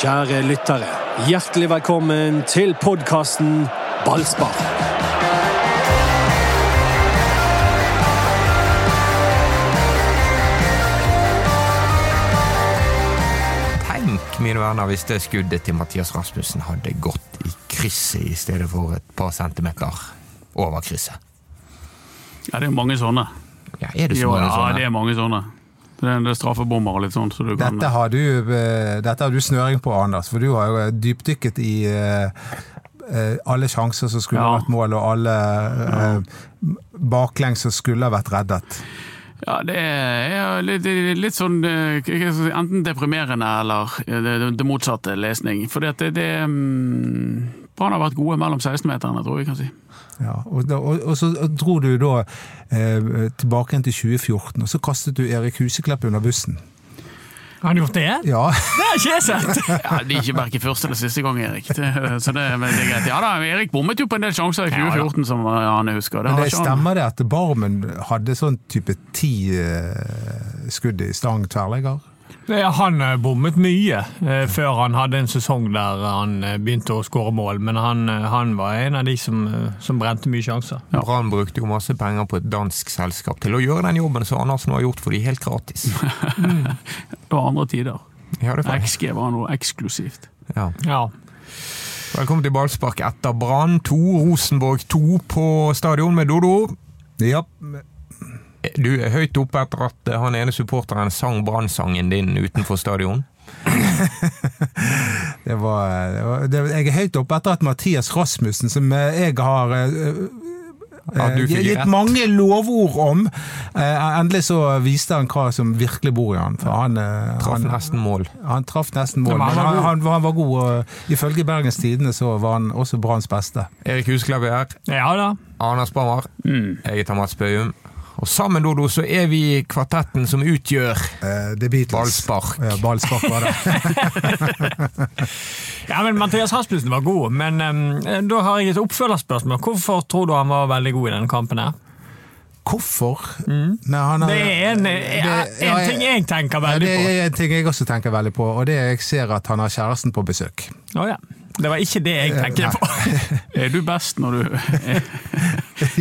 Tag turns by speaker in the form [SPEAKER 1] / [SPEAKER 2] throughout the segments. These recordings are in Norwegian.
[SPEAKER 1] Kjære lyttere, hjertelig velkommen til podkasten Ballspar.
[SPEAKER 2] Tenk, mine venner, hvis det skuddet til Mathias Rasmussen hadde gått i krysset i stedet for et par centimeter over krysset.
[SPEAKER 3] Ja, det er mange sånne.
[SPEAKER 2] Ja, er det så
[SPEAKER 3] Jo,
[SPEAKER 2] mange
[SPEAKER 3] ja,
[SPEAKER 2] sånne?
[SPEAKER 3] det er mange sånne. Det er en del straffebommer og litt sånn. Så du kan,
[SPEAKER 4] Dette har, du, eh, dette har du snøring på, Anders, for du har jo eh, dypdykket i eh, eh, alle sjanser som skulle
[SPEAKER 3] Ja.
[SPEAKER 4] vært mål, og alle eh, baklengs som skulle vært reddet.
[SPEAKER 3] ja, det er litt, litt sånn eh, hva skal jeg si, enten deprimerende eller eh, det, det motsatte lesning. For det, det, det mm, Brann har vært gode mellom 16-meterne, tror jeg vi kan si.
[SPEAKER 4] Ja, og, da, og, og så dro du da eh, tilbake igjen til 2014, og så kastet du Erik Huseklepp under bussen.
[SPEAKER 5] Har han gjort det?
[SPEAKER 4] Ja,
[SPEAKER 5] Det har ikke jeg sett!
[SPEAKER 3] Ja, Det er ikke verken første eller siste gang, Erik. Det, så det, men det er greit. Ja da, Erik bommet jo på en del sjanser i 2014, som Arne husker.
[SPEAKER 4] men
[SPEAKER 3] har
[SPEAKER 4] det
[SPEAKER 3] ikke han-
[SPEAKER 4] stemmer det at Barmen hadde sånn type ti eh, skudd i stang tverrlegger?
[SPEAKER 5] Ja, Han eh, bommet mye eh, før han hadde en sesong der han eh, begynte å skåre mål, men han, eh, han var en av de som, eh, som brente mye sjanser.
[SPEAKER 2] Brann brukte jo masse penger på et dansk selskap til å gjøre den jobben som Andersen har gjort for de helt gratis.
[SPEAKER 3] Det var andre tider.
[SPEAKER 2] Ja, det er faktisk.
[SPEAKER 3] XG var noe eksklusivt.
[SPEAKER 2] Ja.
[SPEAKER 5] Ja.
[SPEAKER 2] Velkommen til ballspark etter Brann 2, Rosenborg 2 på stadion med Dodo.
[SPEAKER 4] Ja,
[SPEAKER 2] Du er høyt oppe etter at eh, han ene supporteren sang Brann-sangen din utenfor stadion.
[SPEAKER 4] Det var, det var det, Jeg er høyt oppe etter at Mathias Rasmussen, som eh, jeg har eh,
[SPEAKER 2] At du
[SPEAKER 4] eh,
[SPEAKER 2] fikk
[SPEAKER 4] gitt
[SPEAKER 2] rett.
[SPEAKER 4] mange lovord om, eh, endelig så viste han hva som virkelig bor i han. For han, eh,
[SPEAKER 2] Traff
[SPEAKER 4] han,
[SPEAKER 2] nesten mål.
[SPEAKER 4] han traff nesten mål,
[SPEAKER 5] Ja,
[SPEAKER 4] men
[SPEAKER 5] men han
[SPEAKER 4] han,
[SPEAKER 5] var
[SPEAKER 4] han, var- han
[SPEAKER 5] god.
[SPEAKER 4] var god. Og ifølge Bergens Tidende så var han også Branns beste.
[SPEAKER 2] Erik Husklev er her.
[SPEAKER 5] ja da.
[SPEAKER 2] Anders Bammer.
[SPEAKER 5] Mm.
[SPEAKER 2] Jeg heter Mats Bøhum. Og sammen, Dodo, så er vi kvartetten som utgjør
[SPEAKER 4] Eh, The Beatles.
[SPEAKER 2] Ballspark.
[SPEAKER 4] Ja, ballspark var det.
[SPEAKER 5] Ja, men Mathias Rasmussen var god, men eh, da har jeg et oppfølgerspørsmål. Hvorfor tror du han var veldig god i denne kampen her?
[SPEAKER 4] Hvorfor? Nei, han har-
[SPEAKER 5] Det er en, eh,
[SPEAKER 4] Eh, Det- ja,
[SPEAKER 5] en ting jeg tenker
[SPEAKER 4] ja,
[SPEAKER 5] veldig
[SPEAKER 4] Det
[SPEAKER 5] på.
[SPEAKER 4] er en ting jeg også tenker veldig på, og det er jeg ser at han har kjæresten på besøk.
[SPEAKER 5] Å ja. Det var ikke det jeg tenker på.
[SPEAKER 3] Er du best når du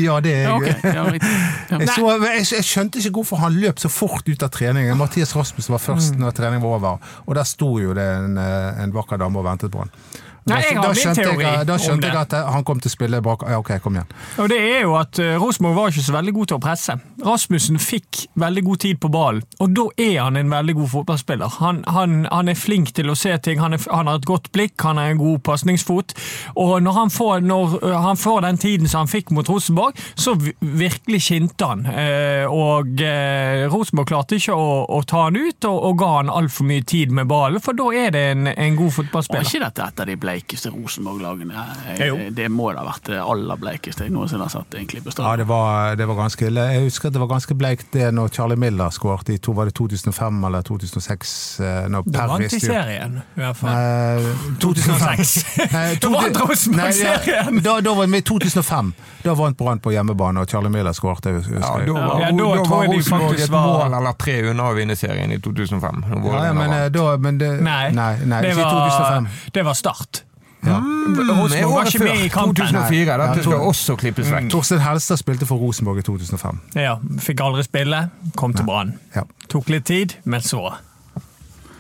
[SPEAKER 4] Ja, det er jeg.
[SPEAKER 3] Ja, ok. Ja, riktig. Ja.
[SPEAKER 4] Jeg, så, jeg, jeg skjønte ikke hvorfor han løp så fort ut av treningen. Mathias Rasmussen var først
[SPEAKER 5] Mm.
[SPEAKER 4] når treningen var over, og der sto jo det en, eh, en vakker dame og ventet på han.
[SPEAKER 5] Nei, jeg har
[SPEAKER 4] da,
[SPEAKER 5] min
[SPEAKER 4] skjønte
[SPEAKER 5] teori
[SPEAKER 4] jeg, da
[SPEAKER 5] om
[SPEAKER 4] skjønte
[SPEAKER 5] det.
[SPEAKER 4] jeg at eh, han kom til å spille bak Ja, ok, kom igjen.
[SPEAKER 5] Og det er jo at eh, Rosenborg var ikke så veldig god til å presse. Rasmussen fikk veldig god tid på ballen, og da er han en veldig god fotballspiller. Han, han, han er flink til å se ting, han, er, han har et godt blikk, han har en god pasningsfot. Og når han, får, når eh, han får den tiden som han fikk mot Rosenborg, så vi- virkelig skinte han. Eh, og eh, Rosenborg klarte ikke å, å ta han ut, og, og ga han altfor mye tid med ballen, for da er det en, en god
[SPEAKER 3] Var
[SPEAKER 5] fotballspiller.
[SPEAKER 3] ikke dette et av de bleikeste Rosenborg-lagene?
[SPEAKER 5] Ja, jo.
[SPEAKER 3] Det må da ha vært det aller bleikeste jeg noensinne har sett. egentlig på
[SPEAKER 4] Ja,
[SPEAKER 3] stadion.
[SPEAKER 4] det var, det var ganske ille. Jeg husker at det var ganske bleikt det når Charlie Miller skåret i to, var det 2005 eller 2006? eh, Når
[SPEAKER 5] Det
[SPEAKER 4] Perry
[SPEAKER 5] vant i
[SPEAKER 4] styrte.
[SPEAKER 5] serien, i hvert fall.
[SPEAKER 4] Eh,
[SPEAKER 5] 2006.
[SPEAKER 4] Nei,
[SPEAKER 5] Da vant
[SPEAKER 4] Eh, to-
[SPEAKER 5] Rosenborg-serien.
[SPEAKER 4] Nei, ja, Da, da var vi i 2005. Da vant Brann på hjemmebane, og Charlie Miller skåret. jeg husker
[SPEAKER 2] Ja,
[SPEAKER 4] jeg.
[SPEAKER 2] da var,
[SPEAKER 5] Ja, da
[SPEAKER 2] da var
[SPEAKER 5] tror jeg de
[SPEAKER 2] Rosenborg
[SPEAKER 5] faktisk
[SPEAKER 2] et
[SPEAKER 5] var-
[SPEAKER 2] mål eller tre unna å vinne serien i 2005. når
[SPEAKER 4] Ja, ja,
[SPEAKER 2] Vålerenga
[SPEAKER 4] men, eh,
[SPEAKER 2] vant.
[SPEAKER 4] da, men det,
[SPEAKER 5] Nei,
[SPEAKER 4] nei, nei
[SPEAKER 5] det,
[SPEAKER 4] ikke
[SPEAKER 5] var,
[SPEAKER 4] 2005.
[SPEAKER 5] det var Start.
[SPEAKER 4] Ja.
[SPEAKER 2] Men
[SPEAKER 5] Rosenborg var
[SPEAKER 2] Mm, året
[SPEAKER 5] ikke med
[SPEAKER 2] før,
[SPEAKER 5] i kampen. Mm.
[SPEAKER 2] 2004.
[SPEAKER 4] Nei.
[SPEAKER 2] Dette
[SPEAKER 4] Ja,
[SPEAKER 2] skal
[SPEAKER 4] to-
[SPEAKER 2] også klippes vekk.
[SPEAKER 4] Torstein Helstad spilte for Rosenborg i 2005.
[SPEAKER 5] Ja, Fikk aldri spille, kom til Brann.
[SPEAKER 4] Ja,
[SPEAKER 5] Tok litt tid, men så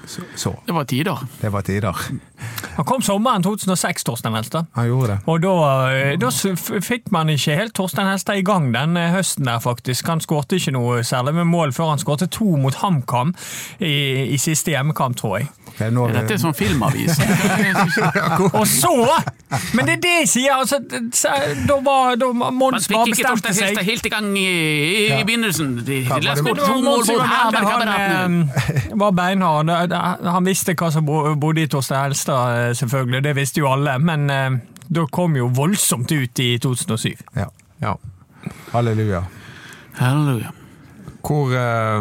[SPEAKER 4] så, så.
[SPEAKER 3] Det var tider.
[SPEAKER 4] Det var tider.
[SPEAKER 5] Han kom sommeren 2006, Torstein Helstad.
[SPEAKER 4] Han gjorde det.
[SPEAKER 5] Og da, eh, da s- f- fikk man ikke helt Torstein Helstad i gang den eh, høsten der, faktisk. Han skårte ikke noe særlig med mål før han skårte to mot HamKam i, i siste hjemmekamp, tror jeg.
[SPEAKER 4] Ok, nå er vi-
[SPEAKER 3] Dette er sånn filmavis. Men
[SPEAKER 5] Og så Men det er det jeg sier! Altså, det- så- da var da Mons bare
[SPEAKER 3] fikk ikke
[SPEAKER 5] bestemte
[SPEAKER 3] Torstein
[SPEAKER 5] seg.
[SPEAKER 3] Helstad helt i gang i, i begynnelsen. De,
[SPEAKER 4] Ja,
[SPEAKER 3] de leste med
[SPEAKER 4] var
[SPEAKER 5] Men det
[SPEAKER 3] to
[SPEAKER 5] var
[SPEAKER 3] mål
[SPEAKER 5] Mons
[SPEAKER 3] mot
[SPEAKER 5] Ivan Herman,
[SPEAKER 3] Herman-kameratene.
[SPEAKER 5] han eh, var beinhard. Det- det- Han visste hva som bo- bodde i Torstein Helstad, eh, selvfølgelig. Det visste jo alle. Men eh, da kom jo voldsomt ut i 2007.
[SPEAKER 4] ja.
[SPEAKER 2] Ja.
[SPEAKER 4] Halleluja.
[SPEAKER 3] Halleluja.
[SPEAKER 2] Hvor eh,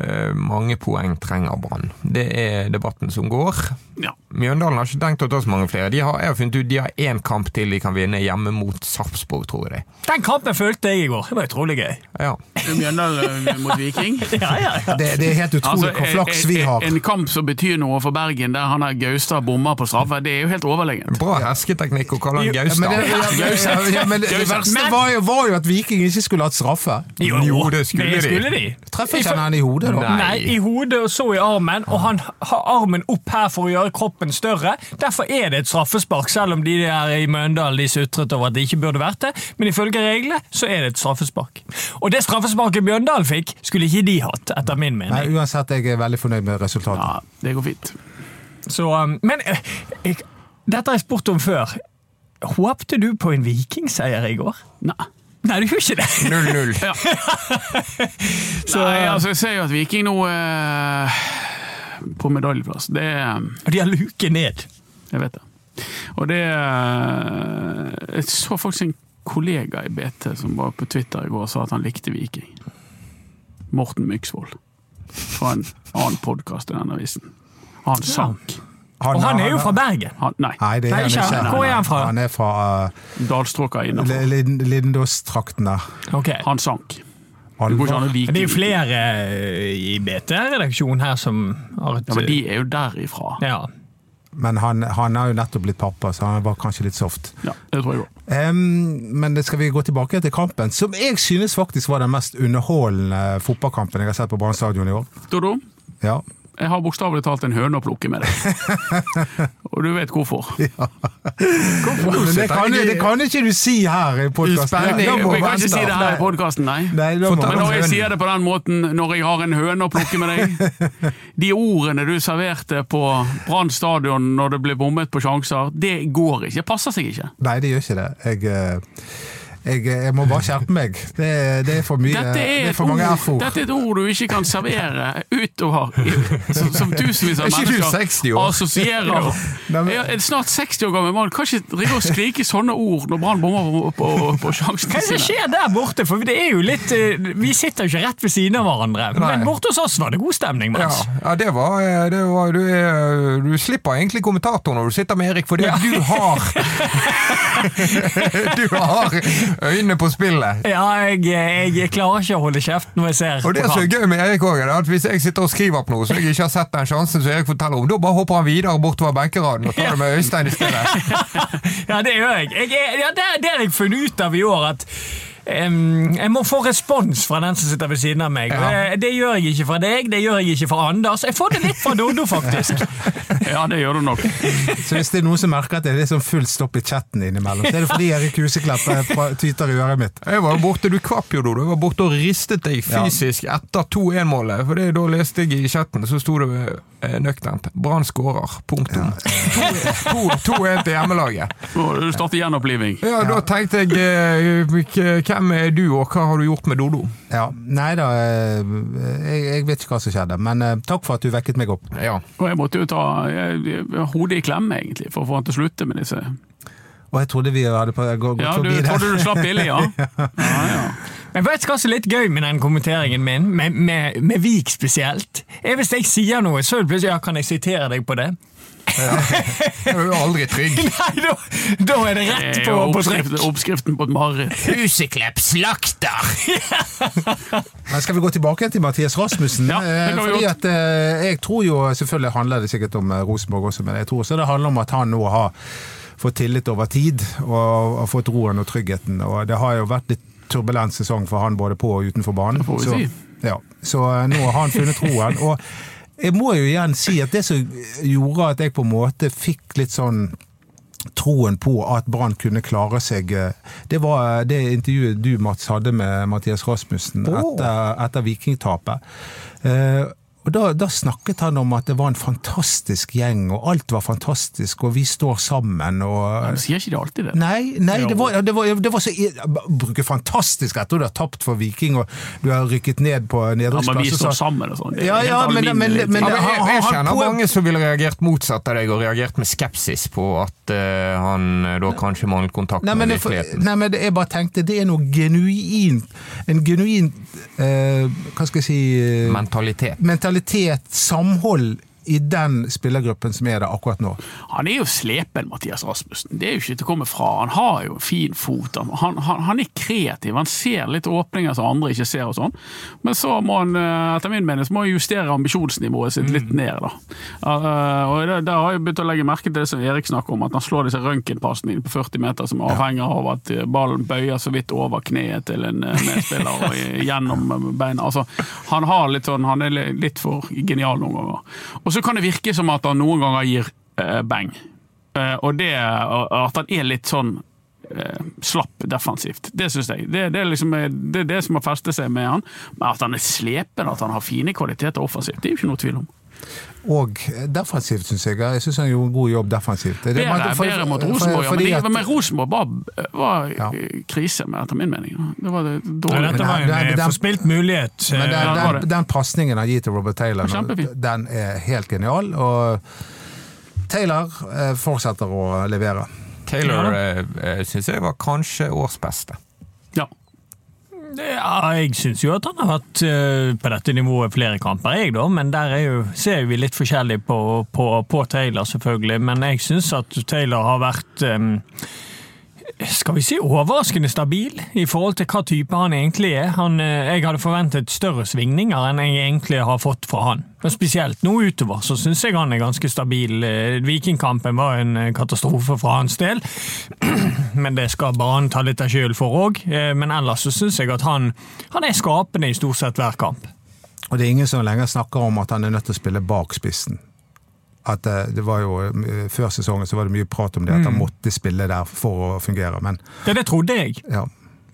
[SPEAKER 2] eh, mange poeng trenger Brann? Det er debatten som går.
[SPEAKER 3] Ja.
[SPEAKER 2] Mjøndalen har ikke tenkt å ta så mange flere. De har, jeg har funnet ut de har én kamp til de kan vinne, hjemme mot Sarpsborg, tror jeg.
[SPEAKER 5] Den kampen følte jeg i går. Det var utrolig gøy.
[SPEAKER 2] Ja.
[SPEAKER 3] Mjøndalen eh, mot Viking. Altså, eh,
[SPEAKER 5] Ja, ja, ja.
[SPEAKER 4] Det, det er helt
[SPEAKER 2] Altså,
[SPEAKER 4] utrolig hvor flaks vi har.
[SPEAKER 3] En kamp som betyr noe for Bergen, der han har Gaustad bommer på straffe, det er jo helt overlegent.
[SPEAKER 2] Bra hersketeknikk å kalle han
[SPEAKER 4] Ja, men det,
[SPEAKER 2] Gaustad.
[SPEAKER 4] ja, ja, ja, men det verste var jo, var jo at Viking ikke skulle hatt straffe.
[SPEAKER 2] Jo, det skulle de.
[SPEAKER 5] det skulle de.
[SPEAKER 4] Treffer ikke han i hodet, da?
[SPEAKER 2] Nei.
[SPEAKER 5] Nei, i hodet og så i armen, og han har armen opp her for å gjøre kroppen større. Derfor er det et straffespark, selv om de der i Møndalen de sutret over at det ikke burde vært det. Men ifølge reglene så er det et straffespark. Og det straffesparket Mjøndalen fikk, skulle ikke de hatt, etter min mening.
[SPEAKER 4] Nei, uansett, jeg er veldig fornøyd med resultatet.
[SPEAKER 3] Ja, det går fint.
[SPEAKER 5] Så, um, men eh, jeg, dette har jeg spurt om før. Håpte du på en vikingseier i går?
[SPEAKER 3] Nei.
[SPEAKER 5] Nei, du gjorde ikke det.
[SPEAKER 2] 0-0.
[SPEAKER 3] Nei, altså, jeg ser jo at Viking nå eh, På medaljeplass. Det
[SPEAKER 5] Og de har luke ned.
[SPEAKER 3] Jeg vet det. Og det eh, Jeg så faktisk en kollega i BT som var på Twitter i går og sa at han likte Viking. Morten Myksvold. Fra en annen podkast i denne avisen. Han sank.
[SPEAKER 5] Og han er jo fra Bergen.
[SPEAKER 3] Han, nei,
[SPEAKER 4] Nei, det er
[SPEAKER 5] Nei,
[SPEAKER 4] han
[SPEAKER 5] ikke
[SPEAKER 4] ikke.
[SPEAKER 5] han. Hvor er han fra?
[SPEAKER 4] Han er fra eh,
[SPEAKER 3] dalstråka
[SPEAKER 4] uh,
[SPEAKER 3] innafor.
[SPEAKER 4] Lindås-trakten der.
[SPEAKER 5] Ok.
[SPEAKER 3] Han sank. Det går ikke an
[SPEAKER 4] Alvor.
[SPEAKER 3] å like
[SPEAKER 5] Men det er jo flere eh, i BT-redaksjonen her som har et
[SPEAKER 3] Ja, men de er jo derifra.
[SPEAKER 5] ja.
[SPEAKER 4] Men han, han har jo nettopp blitt pappa, så han var kanskje litt soft.
[SPEAKER 3] Ja, det tror jeg òg.
[SPEAKER 4] Ehm, men det skal vi gå tilbake til kampen, som jeg synes faktisk var den mest underholdende fotballkampen jeg har sett på Brann stadion i år.
[SPEAKER 3] Dodo,
[SPEAKER 4] Ja.
[SPEAKER 3] jeg har bokstavelig talt en høne å plukke med deg. Og du vet hvorfor.
[SPEAKER 4] Men det kan, det kan ikke du si her i podkasten.
[SPEAKER 2] Uspenning.
[SPEAKER 3] Jeg
[SPEAKER 2] Da må
[SPEAKER 3] kan ikke si det her i podkasten, nei.
[SPEAKER 4] Nei, da må
[SPEAKER 3] Men når jeg
[SPEAKER 4] vente.
[SPEAKER 3] sier det på den måten, når jeg har en høne å plukke med deg De ordene du serverte på Brann stadion når det ble bommet på sjanser, det går ikke. Det passer seg ikke.
[SPEAKER 4] Nei, det gjør ikke det. Jeg, eh, jeg, eh, jeg må bare skjerpe meg. Det, er- det er for mye.
[SPEAKER 3] Dette
[SPEAKER 4] eh, det
[SPEAKER 3] er,
[SPEAKER 4] er
[SPEAKER 3] et
[SPEAKER 4] for mange
[SPEAKER 3] ord,
[SPEAKER 4] F-ord.
[SPEAKER 3] dette er et ord du ikke kan servere utover i- som, som tusenvis av
[SPEAKER 2] Er ikke du
[SPEAKER 3] mennesker
[SPEAKER 2] 60 år?
[SPEAKER 3] assosierer.
[SPEAKER 4] Nei, men-
[SPEAKER 3] Jeg er snart 60 år gammel mann kan ikke drive og skrike sånne ord når Brann bommer på, på, på
[SPEAKER 5] Hva
[SPEAKER 3] sjansene
[SPEAKER 5] er det som
[SPEAKER 3] sine.
[SPEAKER 5] skjer der borte? For det er jo litt eh, Vi sitter jo ikke rett ved siden av hverandre. Men
[SPEAKER 2] Nei.
[SPEAKER 5] borte hos oss var det god stemning.
[SPEAKER 2] Ja,
[SPEAKER 5] Mats.
[SPEAKER 2] ja det var, eh, det var du, er- du slipper egentlig kommentator når du sitter med Erik, fordi at du har Du har øynene på spillet.
[SPEAKER 5] Ja, jeg, jeg klarer ikke å holde kjeft når jeg ser
[SPEAKER 2] Og det som er gøy med Erik òg, at hvis jeg sitter og skriver på noe som jeg ikke har sett den sjansen som Erik forteller om, da bare hopper han videre bortover benkeraden og tar det med Øystein i stedet.
[SPEAKER 5] Ja, det gjør jeg. jeg er- ja, det, det har jeg funnet ut av i år, at em, jeg må få respons fra den som sitter ved siden av meg. Og
[SPEAKER 2] Ja.
[SPEAKER 5] Det, det gjør jeg ikke fra deg, det gjør jeg ikke fra Anders. Jeg får det litt fra Doddo, faktisk.
[SPEAKER 3] Ja, det gjør du nok.
[SPEAKER 4] Så hvis det er noen som merker at det er litt sånn full stopp i chatten innimellom, så er det fordi Erik Huseklepp eh, pra- tyter i øret mitt.
[SPEAKER 2] Jeg var jo borte, Du kvapp jo, Dodo. Jeg var borte og ristet deg fysisk etter 2-1-målet. For det, Da leste jeg i chatten, så sto det eh, nøkternt 'Brann skårer'. Punktum. 2-1 til hjemmelaget.
[SPEAKER 3] Nå du starter gjenoppliving.
[SPEAKER 2] Ja, Da tenkte jeg eh, k- Hvem er du, og hva har du gjort med Dodo?
[SPEAKER 4] Ja, Nei da, eh, jeg, jeg vet ikke hva som skjedde, men eh, takk for at du vekket meg opp.
[SPEAKER 2] Ja.
[SPEAKER 3] Og jeg måtte jo ta jeg, jeg, hodet i klemme, egentlig, for å få han til å slutte med disse.
[SPEAKER 4] Og jeg trodde vi hadde på, gå- gått
[SPEAKER 3] Ja, du
[SPEAKER 4] forbi det.
[SPEAKER 3] trodde du slapp billig, ja? ja, ja.
[SPEAKER 5] Men vet du hva som er litt gøy med den kommenteringen min, med, med, med Vik spesielt? Er hvis jeg sier noe, så er det plutselig ja, kan jeg sitere deg på det?
[SPEAKER 2] Jeg er jo aldri trygg.
[SPEAKER 5] Nei, da, da er det
[SPEAKER 3] Det
[SPEAKER 5] rett
[SPEAKER 3] er jo
[SPEAKER 5] på, på
[SPEAKER 3] oppskriften,
[SPEAKER 5] trykk.
[SPEAKER 3] oppskriften på et mareritt.
[SPEAKER 2] Huseklepp slakter!
[SPEAKER 4] Men skal vi gå tilbake til Mathias Rasmussen?
[SPEAKER 3] Ja, det kan vi
[SPEAKER 4] Eh, Fordi at eh, jeg tror jo, selvfølgelig handler det sikkert om eh, Rosenborg også, men jeg tror også det handler om at han nå har fått tillit over tid, og har fått roen og tryggheten. Og det har jo vært litt turbulent sesong for han både på og utenfor banen.
[SPEAKER 3] Det får vi
[SPEAKER 4] så,
[SPEAKER 3] si.
[SPEAKER 4] Ja, så eh, nå har han funnet roen. Og jeg må jo igjen si at det som gjorde at jeg på en måte fikk litt sånn troen på at Brann kunne klare seg. eh, Det var eh, det intervjuet du, Mats, hadde med Mathias Rasmussen etter, etter Vikingtapet. Eh, Og da, da snakket han om at det var en fantastisk gjeng, og alt var fantastisk, og vi står sammen. og...
[SPEAKER 3] Du sier ikke det alltid, det.
[SPEAKER 4] Nei, nei det, var, det, var, det var så Bruke fantastisk etter at du har tapt for Viking og du har rykket ned på
[SPEAKER 3] Ja, men vi
[SPEAKER 4] nedrykksplass. og så-
[SPEAKER 3] står sammen og sånn. Det er
[SPEAKER 4] Ja,
[SPEAKER 3] helt
[SPEAKER 4] ja, men- men-
[SPEAKER 3] alminnelig
[SPEAKER 2] Ja,
[SPEAKER 4] men-
[SPEAKER 2] men
[SPEAKER 3] ting.
[SPEAKER 2] jeg,
[SPEAKER 4] han-
[SPEAKER 2] jeg
[SPEAKER 4] han-
[SPEAKER 2] kjenner
[SPEAKER 4] poeng-
[SPEAKER 2] mange som ville reagert motsatt av deg, og reagert med skepsis på at eh, han eh, da kanskje manglet kontakt
[SPEAKER 4] Nei, men,
[SPEAKER 2] med
[SPEAKER 4] jeg,
[SPEAKER 2] virkeligheten.
[SPEAKER 4] nei, men det- jeg bare tenkte det er noe genuint En genuint eh, Hva skal jeg si eh,
[SPEAKER 2] Mentalitet.
[SPEAKER 4] mentalitet, samhold i den spillergruppen som er der akkurat nå.
[SPEAKER 3] Han er jo slepen, Mathias Rasmussen. Det er jo ikke til å komme fra. Han har jo en fin fot. Han, han, han er kreativ. Han ser litt åpninger som andre ikke ser og sånn. Men så må han, eh, etter min mening, så må han justere ambisjonsnivået sitt litt ned, da. Eh, Og det- der har jeg begynt å legge merke til det som Erik snakker om, at han slår disse røntgenpasningene på 40 meter som avhenger av at eh, ballen bøyer så vidt over kneet til en eh, medspiller og i- gjennom eh, beina. Altså, han, har litt sånn, han er li- litt for genial noen ganger. Og så kan det virke som at han noen ganger gir eh, bang. Eh, og det, og- og at han er litt sånn eh, slapp defensivt. Det syns jeg. Det, det, er liksom, det er det som har festet seg med han. Men at han er slepen, at han har fine kvaliteter offensivt, det er jo ikke noe tvil om.
[SPEAKER 4] Og defensivt, syns jeg. Jeg syns han gjorde en god jobb defensivt. Det- det-
[SPEAKER 3] Bedre,
[SPEAKER 4] for-
[SPEAKER 3] bedre mot
[SPEAKER 4] for-
[SPEAKER 3] Rosenborg, ja, men,
[SPEAKER 4] fordi
[SPEAKER 3] det-
[SPEAKER 4] at-
[SPEAKER 3] men Rosenborg var, var
[SPEAKER 4] Ja.
[SPEAKER 3] krise med, etter min mening. Det var det
[SPEAKER 5] Ja,
[SPEAKER 3] dårlig.
[SPEAKER 5] dette var en
[SPEAKER 4] Men den-
[SPEAKER 5] eh,
[SPEAKER 4] den-
[SPEAKER 5] forspilt mulighet.
[SPEAKER 4] Men
[SPEAKER 5] eh,
[SPEAKER 3] Ja, det var det.
[SPEAKER 4] den, den, den pasningen han gir til Robert Taylor, nå,
[SPEAKER 3] Kjempefin.
[SPEAKER 4] den er helt genial. Og Taylor eh, fortsetter å levere.
[SPEAKER 2] Taylor
[SPEAKER 5] Ja
[SPEAKER 2] eh, syns jeg var kanskje årsbeste.
[SPEAKER 3] Ja.
[SPEAKER 5] Ja, jeg syns jo at han har vært eh, på dette nivået flere kamper, jeg, da. Men der er jo, ser vi litt forskjellig på, på, på Taylor, selvfølgelig. Men jeg syns at Taylor har vært eh, skal vi si overraskende stabil i forhold til hva type han egentlig er. Han, eh, jeg hadde forventet større svingninger enn jeg egentlig har fått fra han. Men spesielt nå utover så syns jeg han er ganske stabil. Eh, Vikingkampen var en eh, katastrofe fra hans del, men det skal bare han ta litt av skylden for òg. Eh, Men ellers så syns jeg at han, han er skapende i stort sett hver kamp.
[SPEAKER 4] Og det er ingen som lenger snakker om at han er nødt til å spille bak spissen. At eh, det var jo, eh, Før sesongen så var det mye prat om det,
[SPEAKER 3] Mm.
[SPEAKER 4] at han måtte spille der for å fungere. Men
[SPEAKER 5] Det, det trodde jeg.
[SPEAKER 4] ja.